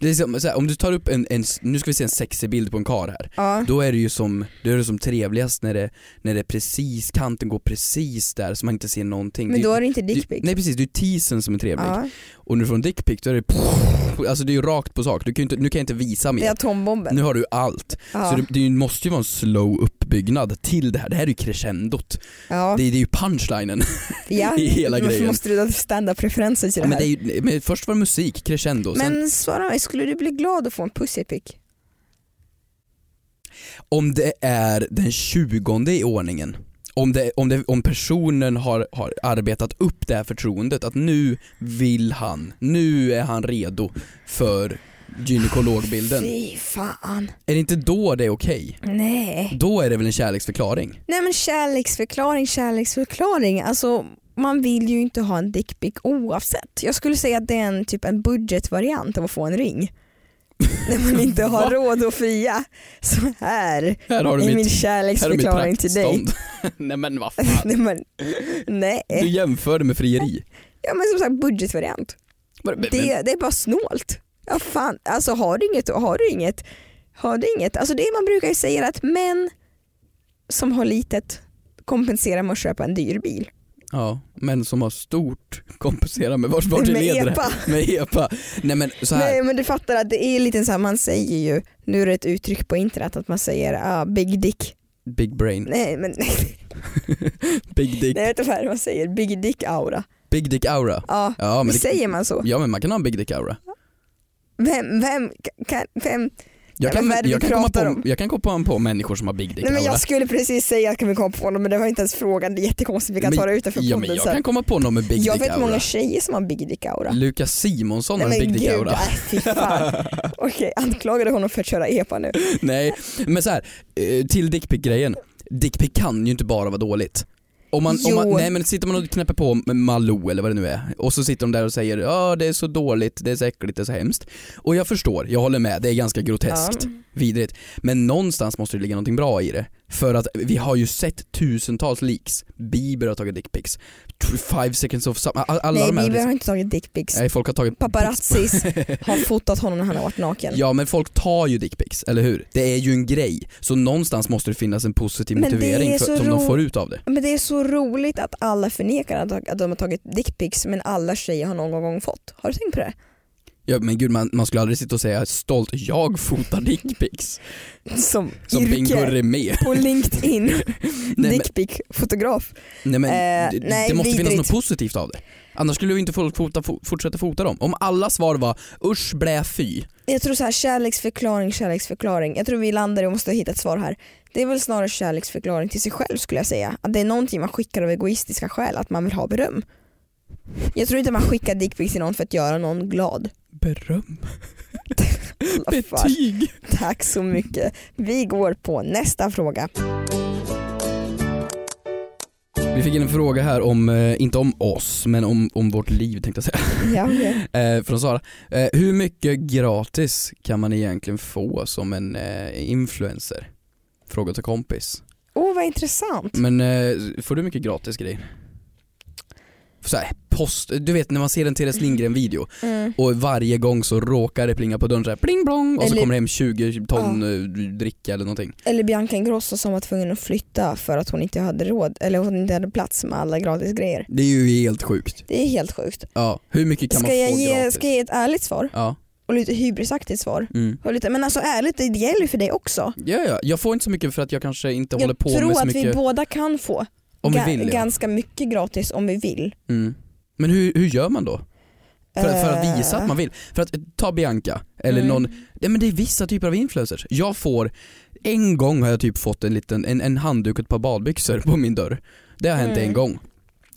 Speaker 2: Det är som, så här, om du tar upp en, en, nu ska vi se en sexig bild på en kar här.
Speaker 3: Ja.
Speaker 2: Då är det ju som, då är det som trevligast när det, när det är precis, kanten går precis där så man inte ser någonting.
Speaker 3: Men
Speaker 2: Det-
Speaker 3: då är det inte
Speaker 2: det-
Speaker 3: dickpic.
Speaker 2: Nej precis, det är ju teasern som är trevlig.
Speaker 3: Ja.
Speaker 2: Och nu från dickpic då är det alltså det [laughs] är ju rakt på sak. Du kan ju inte, nu kan jag inte visa
Speaker 3: Det är
Speaker 2: mer.
Speaker 3: atombomben.
Speaker 2: Nu har du allt. Så
Speaker 3: Ja.
Speaker 2: det, det måste ju vara en slow uppbyggnad till det här. Det här är ju crescendot.
Speaker 3: Ja.
Speaker 2: Det, det är ju punchlinen
Speaker 3: Ja.
Speaker 2: i [laughs] hela
Speaker 3: Varför
Speaker 2: grejen.
Speaker 3: måste du stand preferenser till
Speaker 2: Ja,
Speaker 3: det
Speaker 2: men, det är
Speaker 3: här?
Speaker 2: ju, men först var det musik, crescendo. Sen,
Speaker 3: Men svara mig, skulle du bli glad att få en pussypic?
Speaker 2: om det är den tjugonde i ordningen, om, det, om, det, om personen har, har arbetat upp det här förtroendet att nu vill han, nu är han redo för gynekologbilden.
Speaker 3: Fy fan.
Speaker 2: Är det inte då det är okej?
Speaker 3: Nej.
Speaker 2: Då är det väl en kärleksförklaring?
Speaker 3: Nej men kärleksförklaring, kärleksförklaring. Alltså man vill ju
Speaker 2: [laughs]
Speaker 3: inte ha en dickpic oavsett. Jag skulle säga att det är en, typ en budgetvariant av att få en ring. när man inte har
Speaker 2: Va?
Speaker 3: råd att fria. Så här
Speaker 2: Här har du
Speaker 3: är
Speaker 2: mitt, här
Speaker 3: min
Speaker 2: är mitt
Speaker 3: kärleksförklaring till dig.
Speaker 2: praktstånd. [laughs] Nej men vad fan.
Speaker 3: [laughs] Nej, men, [laughs] nej.
Speaker 2: Du jämför det med frieri.
Speaker 3: Ja men som sagt budgetvariant.
Speaker 2: Men, men,
Speaker 3: Det, det är bara snålt. Ja fan, alltså har du inget, har du inget. Har du inget. Alltså det man brukar ju säga att män som har litet kompenserar med att köpa en dyr bil.
Speaker 2: ja, men som har stort kompensera med vart, vart det
Speaker 3: Med
Speaker 2: leder.
Speaker 3: epa.
Speaker 2: [laughs] Med epa. Nej men så här.
Speaker 3: Nej men du fattar att det är lite så här, man säger ju, nu är det ett uttryck på internet att man säger ah, big dick.
Speaker 2: Big brain.
Speaker 3: Nej men [laughs] nej,
Speaker 2: Big dick.
Speaker 3: nej vet du vad man säger? Big dick aura.
Speaker 2: Big dick aura.
Speaker 3: Ja,
Speaker 2: Ja men, det,
Speaker 3: säger man så?
Speaker 2: ja men man kan ha en big dick aura.
Speaker 3: Vem, vem, kan, vem?
Speaker 2: Jag
Speaker 3: Ja, men
Speaker 2: kan,
Speaker 3: vad är det
Speaker 2: jag,
Speaker 3: vi
Speaker 2: kan komma
Speaker 3: pratar
Speaker 2: på,
Speaker 3: om?
Speaker 2: jag kan komma på människor som har big dick
Speaker 3: Nej men
Speaker 2: aura.
Speaker 3: jag skulle precis säga kan vi komma på honom men det var inte ens frågan, det är jättekonstigt, vi kan
Speaker 2: Men-
Speaker 3: ta det utanför
Speaker 2: ja, men
Speaker 3: podden
Speaker 2: jag
Speaker 3: sen.
Speaker 2: kan komma på någon med big
Speaker 3: jag
Speaker 2: dick
Speaker 3: vet många
Speaker 2: aura.
Speaker 3: tjejer som har Big Dick Aura.
Speaker 2: Lukas Simonsson har en
Speaker 3: men
Speaker 2: big dick aura.
Speaker 3: nej,
Speaker 2: [laughs]
Speaker 3: fy fan. Okej, anklagade honom för att köra EPA nu.
Speaker 2: Nej, men så här, eh, till dickpic-grejen. Dickpic kan ju inte bara vara dåligt. Om man, om man,
Speaker 3: Jo.
Speaker 2: nej men sitter man och knäpper på med Malou eller vad det nu är och så sitter de där och säger ja det är så dåligt, det är så äckligt, det är så hemskt. Och jag förstår, jag håller med, det är ganska groteskt,
Speaker 3: Ja.
Speaker 2: vidrigt. Men någonstans måste det ligga någonting bra i det. För att vi har ju sett tusentals leaks, Bieber har tagit dickpics, Five seconds of summer, alla
Speaker 3: Nej
Speaker 2: de här. liksom.
Speaker 3: Bieber har inte tagit dickpics.
Speaker 2: Nej folk har tagit
Speaker 3: Paparazzis
Speaker 2: [laughs]
Speaker 3: har fotat honom när han har varit naken.
Speaker 2: Ja men folk tar ju dickpics, eller hur? Det är ju en grej. Så någonstans måste det finnas en positiv
Speaker 3: Men det är
Speaker 2: motivering för,
Speaker 3: så
Speaker 2: som de
Speaker 3: ro-
Speaker 2: får ut av det.
Speaker 3: Men det är så roligt att alla förnekar att- att de har tagit dickpics men alla tjejer har någon gång fått. Har du tänkt på det?
Speaker 2: Ja, men gud man, man skulle aldrig sitta och säga stolt, jag fotar dickpics.
Speaker 3: Som,
Speaker 2: Som Bingo
Speaker 3: yrke
Speaker 2: Remé.
Speaker 3: på
Speaker 2: [laughs]
Speaker 3: LinkedIn,
Speaker 2: Nej men,
Speaker 3: dickpic-fotograf.
Speaker 2: nej, men
Speaker 3: Eh,
Speaker 2: det,
Speaker 3: nej,
Speaker 2: det måste finnas
Speaker 3: vidrigt.
Speaker 2: något positivt av det. Annars skulle ju inte folk fota, fo- fortsätta fota dem. Om alla svar var usch blä fy.
Speaker 3: Jag tror så här kärleksförklaring, kärleksförklaring. Jag tror vi landar i och måste hitta ett svar här. Det är väl snarare kärleksförklaring till sig själv skulle jag säga. Att det är någonting man skickar av egoistiska skäl, att man vill ha beröm. Jag tror inte man skickar dickpics till någon för att göra
Speaker 2: [laughs]
Speaker 3: någon glad.
Speaker 2: Beröm,
Speaker 3: Alla fall.
Speaker 2: betyg.
Speaker 3: Tack så mycket. Vi går på nästa fråga.
Speaker 2: Vi fick in en fråga här om, eh, inte om oss, men om, om vårt liv tänkte jag säga.
Speaker 3: Ja, okej.
Speaker 2: Eh, från Sara. Eh, hur mycket gratis kan man egentligen få som en eh, influencer? Fråga till kompis.
Speaker 3: Åh vad intressant.
Speaker 2: Men eh, får du mycket gratis grejer? Så här, post, du vet när man ser en Teres Lindgren-video
Speaker 3: Mm.
Speaker 2: och varje gång så råkar det plinga på dörren såhär pling blong och så
Speaker 3: Eller-
Speaker 2: kommer det hem 20 ton eh, dricka eller någonting.
Speaker 3: Eller Bianca Ingrosso som var tvungen att flytta för att hon inte hade råd, eller hon inte hade plats med alla gratis grejer.
Speaker 2: Det är ju helt sjukt.
Speaker 3: Det är helt sjukt.
Speaker 2: Ja, hur mycket kan
Speaker 3: Ska
Speaker 2: man
Speaker 3: jag,
Speaker 2: få
Speaker 3: ge,
Speaker 2: gratis?
Speaker 3: ska jag ge ett ärligt svar?
Speaker 2: Ja,
Speaker 3: Och lite hybrisaktigt svar?
Speaker 2: mm.
Speaker 3: Och lite, men alltså ärligt, det gäller ju för dig också.
Speaker 2: ja, ja, jag får inte så mycket för att jag kanske inte håller
Speaker 3: Jag
Speaker 2: på med
Speaker 3: tror
Speaker 2: så
Speaker 3: att vi
Speaker 2: mycket
Speaker 3: båda kan få
Speaker 2: om vi
Speaker 3: ga-
Speaker 2: vill. Ja.
Speaker 3: ganska mycket gratis om vi vill.
Speaker 2: Mm. Men hur, hur gör man då? För, att- för att visa att man vill. För att eh, ta Bianca, eller
Speaker 3: Mm.
Speaker 2: någon, nej men det är vissa typer av influencers. Jag får, en gång har jag typ fått en liten, en, en handduk och ett par badbyxor på min dörr. Det har hänt
Speaker 3: Mm.
Speaker 2: en gång.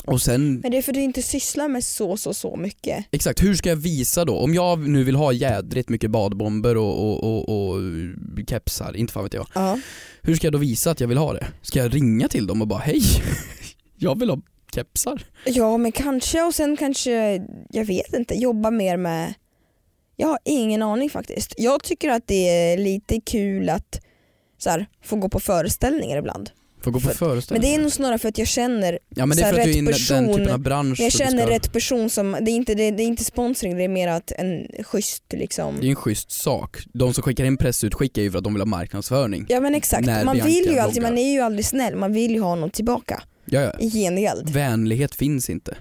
Speaker 2: Och sen,
Speaker 3: Men det är för att du inte sysslar med så så så mycket.
Speaker 2: exakt hur ska jag visa då? Om jag nu vill ha jädrigt mycket badbomber och, och, och, och kepsar, inte fan vet jag.
Speaker 3: Ja.
Speaker 2: Hur ska jag då visa att jag vill ha det? Ska jag ringa till dem och bara hej, [laughs] jag vill ha kepsar?
Speaker 3: ja men kanske och sen kanske, jag vet inte, jobba mer med jag har ingen aning faktiskt. Jag tycker att det är lite kul att så här, få gå på föreställningar ibland.
Speaker 2: Får gå på
Speaker 3: För- Men
Speaker 2: föreställning.
Speaker 3: det är nog snarare för att jag känner,
Speaker 2: ja men det
Speaker 3: så
Speaker 2: är
Speaker 3: här,
Speaker 2: för att du är
Speaker 3: rätt
Speaker 2: i den- den
Speaker 3: person-
Speaker 2: typen av bransch.
Speaker 3: men jag
Speaker 2: så du
Speaker 3: känner
Speaker 2: ska,
Speaker 3: rätt person som, det är, inte, det, det är inte sponsring, det är mer att en schysst liksom
Speaker 2: Det är en schysst sak. De som skickar in pressutskick är ju för att de vill ha marknadsföring.
Speaker 3: Ja men exakt,
Speaker 2: När
Speaker 3: man
Speaker 2: Bianca
Speaker 3: vill ju alltid,
Speaker 2: bloggar.
Speaker 3: man är ju aldrig snäll, man vill ju ha något tillbaka
Speaker 2: Ja, ja.
Speaker 3: i gengäld.
Speaker 2: Vänlighet finns inte.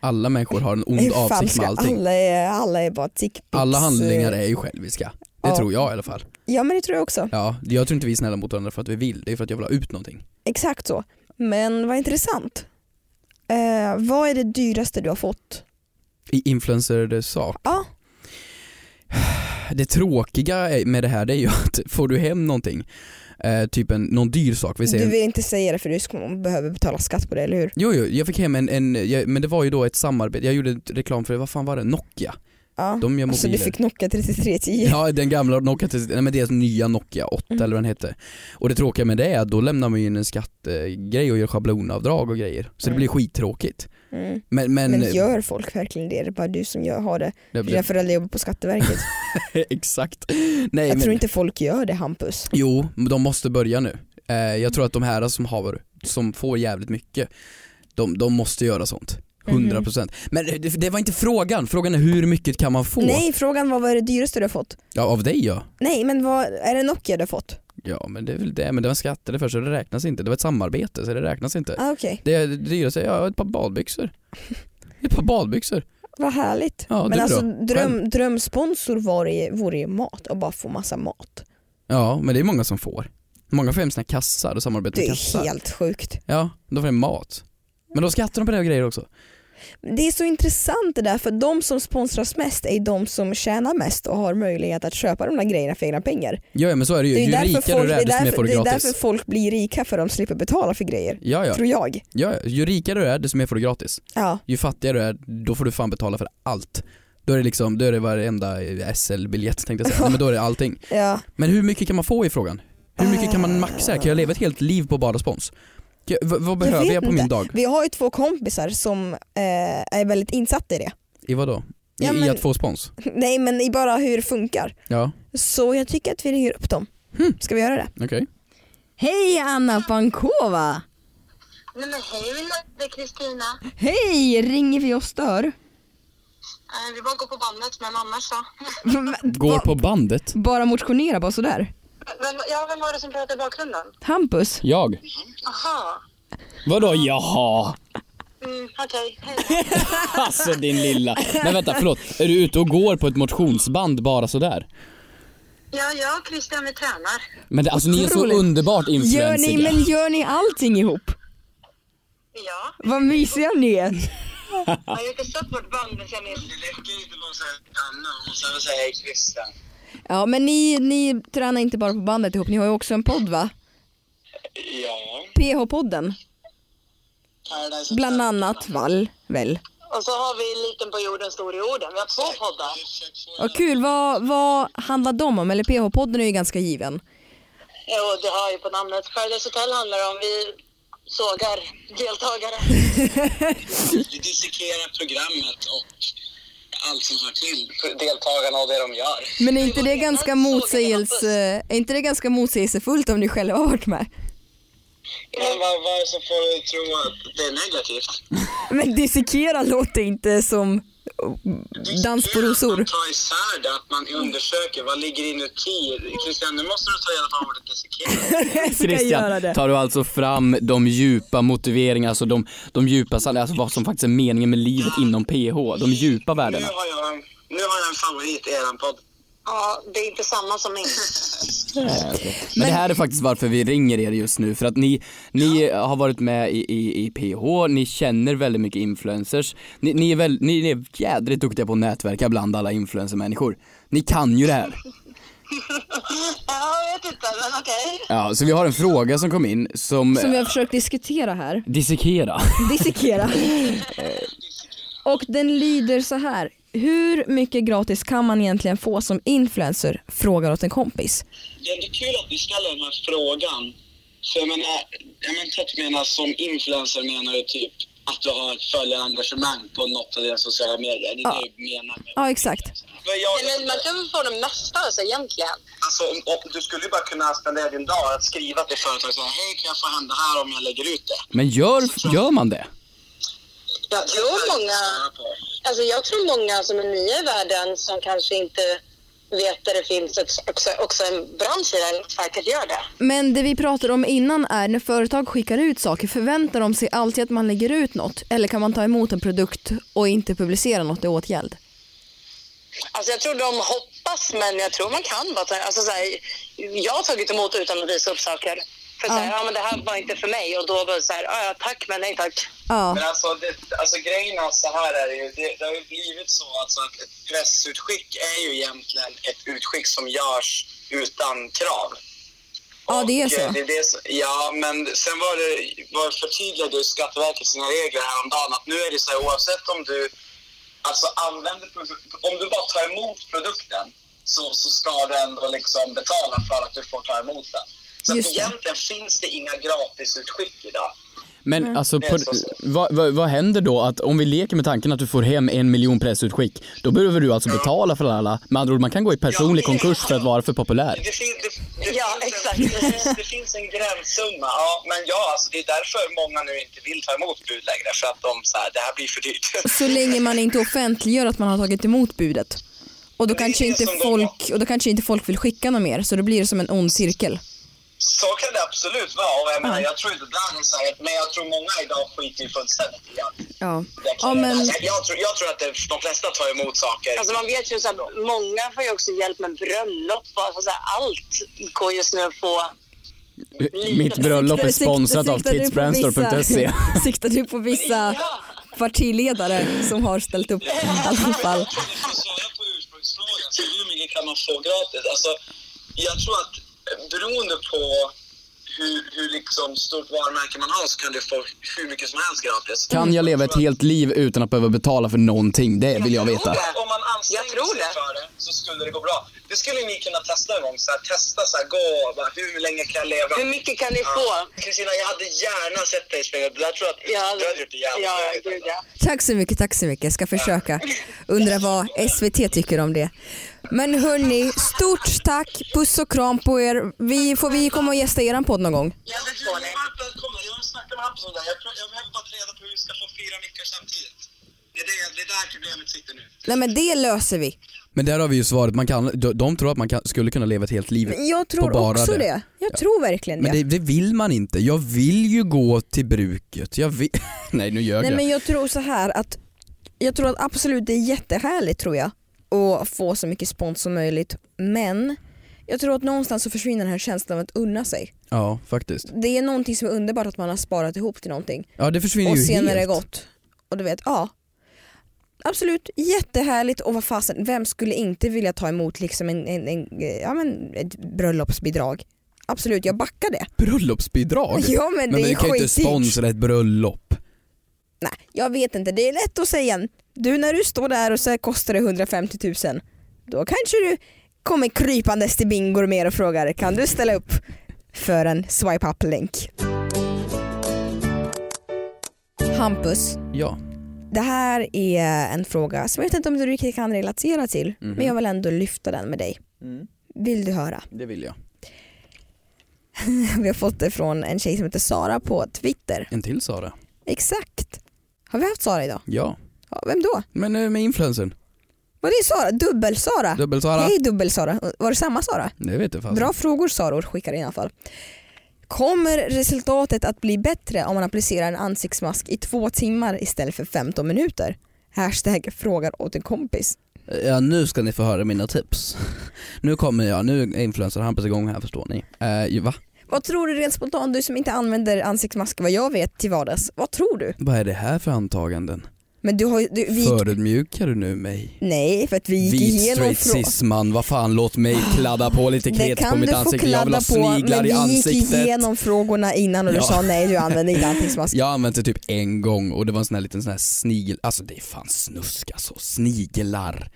Speaker 2: Alla människor har en ond
Speaker 3: Hur fan
Speaker 2: avsikt
Speaker 3: ska-
Speaker 2: med allting.
Speaker 3: Alla är, alla är bara tickpics.
Speaker 2: Alla handlingar är ju själviska. Det
Speaker 3: Ja.
Speaker 2: tror jag i alla fall.
Speaker 3: Ja men det tror jag också,
Speaker 2: Ja, jag tror inte vi är snälla mot varandra för att vi vill, det är för att jag vill ha ut någonting.
Speaker 3: exakt så. Men vad intressant. Eh, vad är det dyraste du har fått?
Speaker 2: I influencer sak.
Speaker 3: Ja.
Speaker 2: [sighs] Det tråkiga är- med det här det är ju [laughs] att får du hem någonting, eh, typ en, någon dyr sak, vi säger
Speaker 3: Du vill inte säga det för du ska- behöver betala skatt på det, eller hur?
Speaker 2: Jo, jo, jag fick hem en, en jag, men det var ju då ett samarbete, jag gjorde reklam för, vad fan var det, Nokia?
Speaker 3: Ja.
Speaker 2: De gör mobiler.
Speaker 3: alltså du fick Nokia 3310.
Speaker 2: Ja den gamla Nokia, till- nej men deras nya Nokia 8
Speaker 3: Mm.
Speaker 2: eller vad den hette. Och det tråkiga med det är att då lämnar man ju in en skattegrej och gör schablonavdrag och grejer. Så det
Speaker 3: Mm.
Speaker 2: blir skittråkigt.
Speaker 3: Mm.
Speaker 2: Men, men, [laughs]
Speaker 3: Men gör folk verkligen det? Det är bara du som gör, har det.
Speaker 2: det,
Speaker 3: Dina föräldrar jobbar på Skatteverket.
Speaker 2: [laughs] exakt. Nej,
Speaker 3: Jag
Speaker 2: men,
Speaker 3: tror inte folk gör det Hampus.
Speaker 2: Jo, men de måste börja nu. Eh, jag tror att de här som, har, som får jävligt mycket, de, de måste göra sånt.
Speaker 3: Mhm.
Speaker 2: 100% procent. Men det, det var inte frågan, frågan är hur mycket kan man få?
Speaker 3: Nej, frågan var vad är det dyraste du har fått?
Speaker 2: Ja, av dig ja.
Speaker 3: Nej, men vad är det Nokia du har fått?
Speaker 2: Ja men det är väl det, men det var skatter det först så det räknas inte. Det var ett samarbete så det räknas inte.
Speaker 3: Ah, Okej,
Speaker 2: Det det dyraste, ja ett par badbyxor. Ett par badbyxor.
Speaker 3: vad härligt.
Speaker 2: Ja, det
Speaker 3: men
Speaker 2: är
Speaker 3: alltså
Speaker 2: bra.
Speaker 3: dröm, drömsponsor vore ju, vore ju mat och bara få massa mat.
Speaker 2: Ja men det är många som får. Många får hem sina kassar och samarbetar
Speaker 3: Det
Speaker 2: med
Speaker 3: är
Speaker 2: kassar.
Speaker 3: helt sjukt.
Speaker 2: Ja, de får hem mat. Men då skattar de på det och grejer också.
Speaker 3: Det är så intressant det där för de som sponsras mest är de som tjänar mest och har möjlighet att köpa de där grejerna för egna pengar.
Speaker 2: Ja ja, men så är det ju,
Speaker 3: Det är, ju
Speaker 2: ju rikare
Speaker 3: därför, folk,
Speaker 2: du
Speaker 3: det,
Speaker 2: är
Speaker 3: är
Speaker 2: desto mer får
Speaker 3: därför,
Speaker 2: du
Speaker 3: det är
Speaker 2: gratis.
Speaker 3: därför folk blir rika för de slipper betala för grejer.
Speaker 2: Ja, ja,
Speaker 3: Tror jag.
Speaker 2: ja, ja, ju rikare du är desto mer får du gratis.
Speaker 3: Ja.
Speaker 2: Ju fattigare du är, då får du fan betala för allt. Då är det liksom, då är det varenda SL-biljett tänkte jag säga. Nej, men då är det allting.
Speaker 3: ja.
Speaker 2: Men hur mycket kan man få i frågan? Hur mycket kan man maxa? Kan jag leva ett helt liv på bara spons? Kan jag- v- Vad behöver
Speaker 3: vet
Speaker 2: jag, på min
Speaker 3: inte.
Speaker 2: dag?
Speaker 3: Vi har ju två kompisar som eh, är väldigt insatta i det. [laughs]
Speaker 2: I vad då? I,
Speaker 3: Ja,
Speaker 2: I
Speaker 3: men-
Speaker 2: att få spons?
Speaker 3: Nej men i bara hur det funkar.
Speaker 2: Ja,
Speaker 3: Så jag tycker att vi ringer upp dem.
Speaker 2: Hmm.
Speaker 3: Ska vi göra det?
Speaker 2: okej.
Speaker 3: Hej Anna Pankova!
Speaker 1: Nej men hej min dotter Kristina.
Speaker 3: Hej! Ringer vi och stör?
Speaker 1: Eh, Vi bara går på bandet men annars så.
Speaker 2: Går på bandet?
Speaker 3: Bara motionera bara sådär?
Speaker 1: Vem, ja, vem var det som pratade i bakgrunden?
Speaker 3: Hampus?
Speaker 2: Jag?
Speaker 1: Aha.
Speaker 2: Vadå jaha?
Speaker 1: Mm, okej. Hej. [laughs]
Speaker 2: Alltså din lilla. Men vänta, förlåt. Är du ute och går på ett motionsband bara sådär?
Speaker 1: Ja, jag och Christian vi tränar.
Speaker 2: Men det, alltså ni är så
Speaker 3: Otroligt.
Speaker 2: underbart
Speaker 3: Gör ni, men gör ni allting ihop?
Speaker 1: Ja,
Speaker 3: Vad mysiga ni är.
Speaker 1: jag har gjort ett stort vårt band men sen är
Speaker 4: Det räcker inte med att säga Anna, man måste även säga hej Christian.
Speaker 3: Ja men ni, ni tränar inte bara på bandet ihop, ni har ju också en podd va?
Speaker 4: Ja.
Speaker 3: PH-podden.
Speaker 4: Paradise
Speaker 3: Bland annat Vall, väl?
Speaker 1: Och så har vi Liten på jorden, Stor i orden. Vi har två poddar.
Speaker 3: Vad kul, vad, vad handlar de om? Eller PH-podden är ju ganska given.
Speaker 1: Jo, Eh, det har ju på namnet. Paradise Hotel handlar det om. Vi sågar
Speaker 3: [laughs]
Speaker 1: deltagare.
Speaker 4: Vi dissekerar programmet och allt som hör till deltagarna och det de gör.
Speaker 3: Men är inte det ganska, motsägelse, är inte det ganska motsägelsefullt om ni själva har varit med?
Speaker 4: Men vad, vad är det som får dig att tro att det är negativt?
Speaker 3: Men dissekera låter inte som dans på
Speaker 4: Att
Speaker 3: rosor.
Speaker 4: man tar isär det, att man undersöker vad ligger inuti. Christian, nu måste du ta reda på
Speaker 3: [laughs]
Speaker 4: ordet dissekera.
Speaker 3: Jag ska göra
Speaker 2: Christian,
Speaker 3: det.
Speaker 2: tar du alltså fram de djupa motiveringarna, alltså de, de djupa, sanningarna, alltså vad som faktiskt är meningen med livet inom PH, de djupa
Speaker 4: Nu
Speaker 2: värdena?
Speaker 4: har jag en, nu har jag en favorit i eran podd.
Speaker 1: Ja, det är inte samma
Speaker 4: [laughs]
Speaker 1: som min.
Speaker 2: Men, det här är faktiskt varför vi ringer er just nu, för att ni, ni har varit med i, i, i PH, ni känner väldigt mycket influencers, ni, ni, är väl, ni är jädrigt duktiga på att nätverka bland alla influencermänniskor. Ni kan ju det här.
Speaker 1: Ja, jag vet inte, men okej.
Speaker 2: Ja, så vi har en fråga som kom in som,
Speaker 3: Som vi har försökt dissekera här.
Speaker 2: dissekera.
Speaker 3: Dissekera. Och den lyder så här. Hur mycket gratis kan man egentligen få som influencer? Frågar åt en kompis.
Speaker 4: Det är ändå kul att ni ställer den här frågan. För jag menar, jag menar, typ menar som influencer menar du typ att du har ett följarengagemang på något av dina sociala medier. Det är det du menar med.
Speaker 3: Ja exakt.
Speaker 4: Men jag,
Speaker 1: Men man kan väl få det mesta alltså, egentligen.
Speaker 4: alltså, om, om, du skulle ju bara kunna spendera din dag att skriva till företag så här, hej kan jag få hända här om jag lägger ut det?
Speaker 2: Men gör, gör man det?
Speaker 1: Jag tror många... Alltså jag tror många som är nya i världen som kanske inte vet att det finns ett, också, också en bransch i den säkert gör det.
Speaker 3: Men det vi pratade om innan är när företag skickar ut saker förväntar de sig alltid att man lägger ut något? Eller kan man ta emot en produkt och inte publicera något i åtgärd?
Speaker 1: Alltså jag tror de hoppas, men jag tror man kan bara ta, alltså så här, Jag har tagit emot utan att visa upp saker. För så här,
Speaker 3: Ja.
Speaker 1: ja. men det här var inte för mig och då var det så här, ja ja, tack men nej tack.
Speaker 3: Ja.
Speaker 4: Men alltså, det, alltså grejen är så här är det ju, det, det har ju blivit så alltså att ett pressutskick är ju egentligen ett utskick som görs utan krav.
Speaker 3: Ja, det är
Speaker 4: Och,
Speaker 3: så.
Speaker 4: eh, det som- ja, men sen var det, var förtydligade ju Skatteverket sina regler häromdagen att nu är det så här oavsett om du alltså använder produk- om du bara tar emot produkten så, så ska du ändå liksom betala för att du får ta emot den. Så att
Speaker 3: Just det.
Speaker 4: egentligen finns det inga gratisutskick idag.
Speaker 2: Men alltså,
Speaker 4: Det
Speaker 2: på,
Speaker 4: är så sant.
Speaker 2: vad, vad, vad händer då att om vi leker med tanken att du får hem en miljon pressutskick, då behöver du alltså betala för alla. Med andra ord, man kan gå i personlig
Speaker 4: Ja, det är-
Speaker 2: konkurs för att vara för populär.
Speaker 4: Det, fin, det, det,
Speaker 1: Ja,
Speaker 4: finns
Speaker 1: exakt.
Speaker 4: En, det, finns, [laughs] det finns en gränssumma. Ja, men ja, alltså, det är därför många nu inte vill ta emot bud längre. För att de så här, det här blir för dyrt.
Speaker 3: Så länge man inte offentliggör att man har tagit emot budet. Och då
Speaker 4: Det är
Speaker 3: kanske
Speaker 4: det
Speaker 3: inte
Speaker 4: som de-
Speaker 3: folk, och då kanske inte folk vill skicka något mer, så då blir det som en ond cirkel.
Speaker 4: [laughs] Så kan det absolut vara. Och jag, menar, jag tror inte bland så här, men jag tror många idag skiter ju fullständigt i att
Speaker 3: Ja.
Speaker 4: deklarera.
Speaker 3: Ja, men,
Speaker 4: Alltså, jag, tror, jag tror att det, de flesta tar emot saker.
Speaker 1: Alltså man vet ju så här, många får ju också hjälp med bröllop och alltså så här, allt går just nu att få.
Speaker 2: Mitt bröllop är
Speaker 3: Siktar-
Speaker 2: sponsrat av
Speaker 3: siktar du på
Speaker 2: tidsbranstor.se.
Speaker 3: vissa- [laughs] Siktar du på vissa partiledare som har ställt upp i alla fall?
Speaker 4: För att svara på ursprungsfrågan, så hur mycket kan man få gratis? Alltså, jag tror att eh, beroende på hur, hur liksom stort varumärke man har så kan du få hur mycket som helst gratis.
Speaker 2: Kan jag leva ett helt liv utan att behöva betala för någonting? Det vill jag veta.
Speaker 4: tror att Om man anstränger
Speaker 1: Jag tror
Speaker 4: sig
Speaker 1: det.
Speaker 4: för det så skulle det gå bra. Det skulle ni kunna testa en gång. Så här, testa så här, gå, bara, hur länge kan jag leva?
Speaker 1: Hur mycket kan ni
Speaker 4: Ja.
Speaker 1: få?
Speaker 4: Kristina, jag hade gärna sett dig springa. Jag tror att
Speaker 1: Ja,
Speaker 4: du hade gjort det jävligt
Speaker 1: ja,
Speaker 4: bra.
Speaker 1: gud, ja.
Speaker 3: Tack så mycket, tack så mycket. Jag ska försöka. Undrar vad SVT tycker om det. Men hörni, stort tack. Puss och kram på er. Vi, får vi komma och gästa er podd någon gång?
Speaker 1: Ja, det
Speaker 4: Du,
Speaker 1: får ni.
Speaker 4: varmt välkomna. Jag snackade med Hampus om det här. Jag, tror- jag behöver bara ta reda på hur vi ska få fyra mickar samtidigt. Det är, det, det är där problemet sitter nu.
Speaker 3: Nej men det löser vi.
Speaker 2: Men där har vi ju svaret, man kan, de- de tror att man kan, skulle kunna leva ett helt liv
Speaker 3: Jag
Speaker 2: Typ på
Speaker 3: tror
Speaker 2: bara
Speaker 3: också det.
Speaker 2: det.
Speaker 3: Jag tror verkligen
Speaker 2: Men
Speaker 3: det.
Speaker 2: det, det vill man inte. Jag vill ju gå till bruket. Jag [laughs] vill... Nej nu ljög
Speaker 3: Nej
Speaker 2: jag.
Speaker 3: men jag tror så här att jag tror att absolut det är jättehärligt tror jag att få så mycket spons som möjligt men jag tror att någonstans så försvinner den här känslan av att unna sig.
Speaker 2: Ja faktiskt.
Speaker 3: Det är någonting som är underbart att man har sparat ihop till någonting
Speaker 2: Ja det försvinner
Speaker 3: och
Speaker 2: ju
Speaker 3: senare
Speaker 2: helt.
Speaker 3: gått. Och du vet, ja. Absolut, jättehärligt och vad fasen, vem skulle inte vilja ta emot liksom en, en, en, ja, men ett bröllopsbidrag? Absolut, jag backar det.
Speaker 2: Bröllopsbidrag?
Speaker 3: [laughs] Ja, men det är
Speaker 2: vi kan ju inte
Speaker 3: skitdyrt.
Speaker 2: sponsra ett bröllop.
Speaker 3: Nej, jag vet inte. Det är lätt att säga. Du när du står där och säger kostar det 150 000. Då kanske du kommer krypandes till Bingo mer och frågar kan du ställa upp för en swipe up länk. Hampus,
Speaker 2: Ja.
Speaker 3: det här är en fråga som jag vet inte om du riktigt kan relatera till men jag vill ändå lyfta den med dig. Vill du höra? [laughs]
Speaker 2: Det vill jag.
Speaker 3: Vi har fått det från en tjej som heter Sara på Twitter.
Speaker 2: En till Sara.
Speaker 3: Exakt. Har vi haft Sara idag?
Speaker 2: Ja.
Speaker 3: Ja, vem då?
Speaker 2: Men eh, med influensen.
Speaker 3: Var det Sara? Dubbel-Sara?
Speaker 2: Dubbel-Sara.
Speaker 3: Ah, Hej Dubbel-Sara. Var det samma Sara?
Speaker 2: Det vet jag fan.
Speaker 3: Bra frågor Saror skickar in i alla fall. Kommer resultatet att bli bättre om man applicerar en ansiktsmask i två timmar istället för 15 minuter? Hashtag frågar åt en kompis.
Speaker 2: Ja nu ska ni få höra mina tips. [laughs] Nu kommer jag, nu är influencer Hampus igång här förstår ni. Eh, va?
Speaker 3: Vad tror du rent spontant, du som inte använder ansiktsmasker vad jag vet till vardags, vad tror du?
Speaker 2: Vad är det här för antaganden?
Speaker 3: Men du har ju- du, vi gick,
Speaker 2: Förödmjukar du nu mig?
Speaker 3: Nej, för att vi gick
Speaker 2: Vit
Speaker 3: igenom
Speaker 2: straight
Speaker 3: frågan.
Speaker 2: cis man, vad fan låt mig kladda på lite
Speaker 3: Det
Speaker 2: kret på
Speaker 3: kan du
Speaker 2: mitt
Speaker 3: få
Speaker 2: ansikte. Jag vill
Speaker 3: kladda
Speaker 2: ha
Speaker 3: på, men
Speaker 2: sniglar
Speaker 3: vi
Speaker 2: i
Speaker 3: gick
Speaker 2: ansiktet.
Speaker 3: igenom frågorna innan och du
Speaker 2: Ja.
Speaker 3: sa nej, du använder
Speaker 2: [laughs]
Speaker 3: inte ansiktsmask.
Speaker 2: Jag har använt det typ en gång och det var en sån här liten sån här snigel, alltså det är fan snusk alltså, sniglar.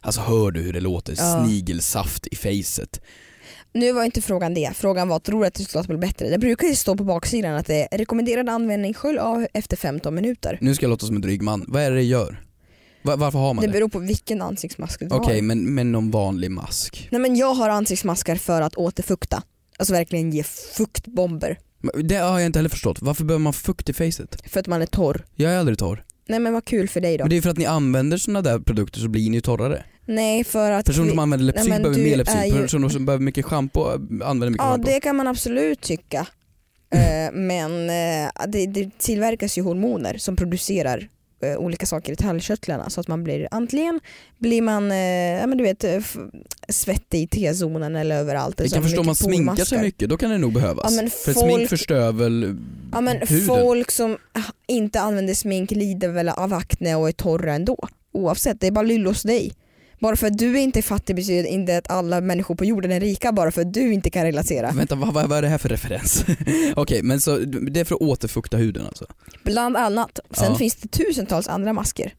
Speaker 2: Alltså hör du hur det låter?
Speaker 3: Ja.
Speaker 2: Snigelsaft i facet.
Speaker 3: Nu var inte frågan det. Frågan var, tror du att resultatet blir bättre? Det brukar ju stå på baksidan att det är rekommenderad användning, skölj av efter 15 minuter.
Speaker 2: Nu ska jag låta som en dryg man, vad är det det gör? Va- varför har man
Speaker 3: Det
Speaker 2: det?
Speaker 3: beror på vilken ansiktsmask du
Speaker 2: Okej
Speaker 3: har.
Speaker 2: men, men någon vanlig mask.
Speaker 3: Nej men jag har ansiktsmasker för att återfukta. Alltså verkligen ge fuktbomber.
Speaker 2: Men Det har jag inte heller förstått, varför behöver man fukt i facet?
Speaker 3: För att man är torr.
Speaker 2: Jag är aldrig torr.
Speaker 3: Nej men vad kul för dig då.
Speaker 2: Men det är ju för att ni använder såna där produkter så blir ni ju torrare.
Speaker 3: Nej för att...
Speaker 2: Personer som
Speaker 3: vi-
Speaker 2: använder Lepsyl
Speaker 3: Nej, men
Speaker 2: behöver
Speaker 3: du
Speaker 2: mer
Speaker 3: är
Speaker 2: Lepsyl,
Speaker 3: ju-
Speaker 2: personer som behöver mycket schampo äh, använder mycket
Speaker 3: Ja
Speaker 2: schampo.
Speaker 3: det kan man absolut tycka. Eh, men eh, det, det tillverkas ju hormoner som producerar eh, olika saker i tallkörtlarna så att man blir antingen blir man eh, ja, men du vet, eh, f- svettig i T-zonen eller överallt. eller
Speaker 2: Jag
Speaker 3: så
Speaker 2: kan
Speaker 3: har
Speaker 2: förstå om man
Speaker 3: mycket
Speaker 2: sminkar sig
Speaker 3: pormaskar.
Speaker 2: mycket, då kan det nog behövas.
Speaker 3: Ja, men
Speaker 2: För
Speaker 3: folk-
Speaker 2: smink förstör väl
Speaker 3: Ja, men
Speaker 2: huden?
Speaker 3: folk som ah, inte använder smink lider väl av akne och är torra ändå. Oavsett, det är bara lyll hos dig. Bara för att du inte är fattig betyder inte att alla människor på jorden är rika bara för att du inte kan relatera.
Speaker 2: Vänta, vad, vad vad är det här för referens? [laughs] Okej, men så det är för att återfukta huden alltså?
Speaker 3: Bland annat. Sen
Speaker 2: Ja.
Speaker 3: finns det tusentals andra masker.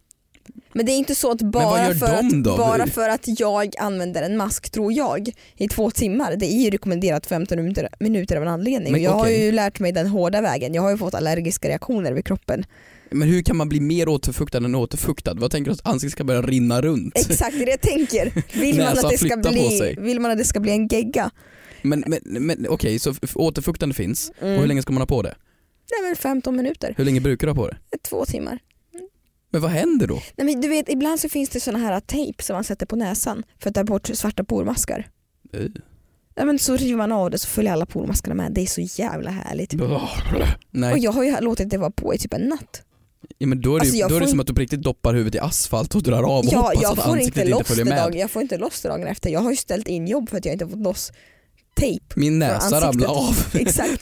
Speaker 3: Men det är inte så att
Speaker 2: vad
Speaker 3: bara,
Speaker 2: gör
Speaker 3: för
Speaker 2: de
Speaker 3: att,
Speaker 2: då?
Speaker 3: bara för att jag använder en mask, tror jag, i två timmar. Det är ju rekommenderat 15 minuter, minuter av en anledning.
Speaker 2: Men
Speaker 3: jag har
Speaker 2: okej.
Speaker 3: ju lärt mig den hårda vägen. Jag har ju fått allergiska reaktioner
Speaker 2: [laughs]
Speaker 3: vid kroppen.
Speaker 2: Men hur kan man bli mer återfuktad än återfuktad? Vad tänker du att ansiktet ska börja rinna runt?
Speaker 3: Exakt det är det jag tänker. Vill man,
Speaker 2: Näsan
Speaker 3: att det ska
Speaker 2: flyttar på
Speaker 3: bli,
Speaker 2: sig.
Speaker 3: vill man att det ska bli en gegga?
Speaker 2: Men, men, men okej, så f- återfuktande finns. Och
Speaker 3: Mm.
Speaker 2: hur länge ska man ha på det?
Speaker 3: Nej men 15 minuter,
Speaker 2: Hur länge brukar du ha på det?
Speaker 3: två timmar.
Speaker 2: Men vad händer då?
Speaker 3: Nej, men du vet, ibland så finns det såna här tejp som man sätter på näsan för att ta bort svarta pormaskar.
Speaker 2: Eh.
Speaker 3: Nej, men så river man av det så följer alla pormaskarna med. Det är så jävla härligt. Och
Speaker 2: Nej,
Speaker 3: jag har ju låtit det vara på i typ en natt.
Speaker 2: ja, men då är det, ju-
Speaker 3: Alltså, jag
Speaker 2: då är det
Speaker 3: får
Speaker 2: som att du på riktigt doppar huvudet i asfalt och drar av och
Speaker 3: Ja,
Speaker 2: hoppas
Speaker 3: jag
Speaker 2: att
Speaker 3: får,
Speaker 2: ansiktet
Speaker 3: inte
Speaker 2: inte
Speaker 3: loss det
Speaker 2: följer med.
Speaker 3: dag, jag får inte loss det dagen efter. Jag har ju ställt in jobb för att jag inte fått loss tejp.
Speaker 2: Min näsa
Speaker 3: ansiktet.
Speaker 2: ramlade av
Speaker 3: Exakt.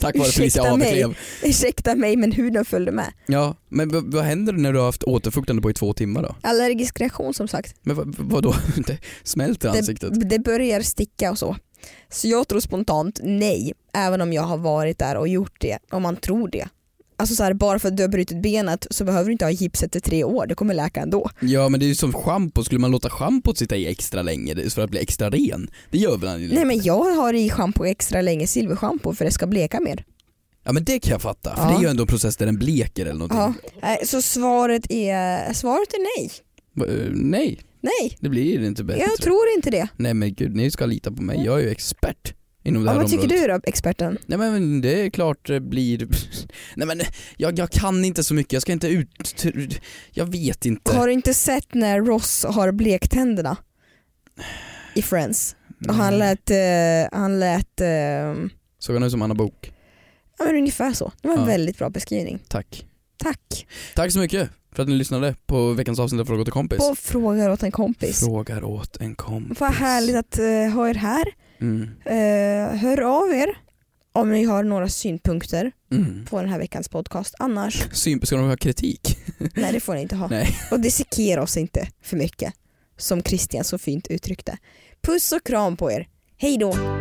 Speaker 2: [laughs] tack vare precis jag
Speaker 3: Ursäkta mig.
Speaker 2: avklev.
Speaker 3: Ursäkta mig men huden följde med.
Speaker 2: Ja, men vad, vad händer när du har haft återfuktande på i två timmar då?
Speaker 3: Allergisk reaktion som sagt.
Speaker 2: Men vad, vad då? [laughs] Det smälter ansiktet?
Speaker 3: Det, det börjar sticka och så. Så jag tror spontant nej, även om jag har varit där och gjort det, om man tror det. Alltså så här, bara för att du har brutit benet så behöver du inte ha gips efter tre år, det kommer läka ändå.
Speaker 2: Ja men det är ju som schampo, skulle man låta schampot sitta i extra länge det är för att bli extra ren? Det gör väl han ju?
Speaker 3: Nej men jag har i schampo extra länge, silverschampo för det ska bleka mer.
Speaker 2: Ja men det kan jag fatta, för
Speaker 3: Ja.
Speaker 2: det är ju ändå en process där den bleker eller någonting.
Speaker 3: Ja. eh, Så svaret är, svaret är nej.
Speaker 2: Va, eh, Nej,
Speaker 3: Nej,
Speaker 2: det blir ju inte bättre.
Speaker 3: jag tror inte det.
Speaker 2: Nej men gud, ni ska lita på mig, jag är ju expert inom det
Speaker 3: Ja,
Speaker 2: här
Speaker 3: vad
Speaker 2: området.
Speaker 3: tycker du då experten?
Speaker 2: Nej men det är klart det blir... [laughs] Nej men jag, jag kan inte så mycket, jag ska inte ut... Jag vet inte.
Speaker 3: Har du inte sett när Ross har blekt tänderna i Friends? Och
Speaker 2: Mm.
Speaker 3: han lät, eh, han lät eh,
Speaker 2: Såg han ut som Anna Bok?
Speaker 3: Ja men ungefär så. Det var en
Speaker 2: Ja.
Speaker 3: väldigt bra beskrivning.
Speaker 2: Tack.
Speaker 3: Tack.
Speaker 2: Tack så mycket för att ni lyssnade på veckans avsnitt av Fråga till kompis.
Speaker 3: På frågar åt en kompis.
Speaker 2: Frågar åt en kompis.
Speaker 3: Vad härligt att eh, ha er här.
Speaker 2: Mm.
Speaker 3: Eh, hör av er om ni har några synpunkter
Speaker 2: Mm.
Speaker 3: på den här veckans podcast. Annars,
Speaker 2: Syn, ska de ha kritik?
Speaker 3: nej det får ni inte ha.
Speaker 2: Nej.
Speaker 3: Och dissekera oss inte för mycket. Som Christian så fint uttryckte. Puss och kram på er. Hej då.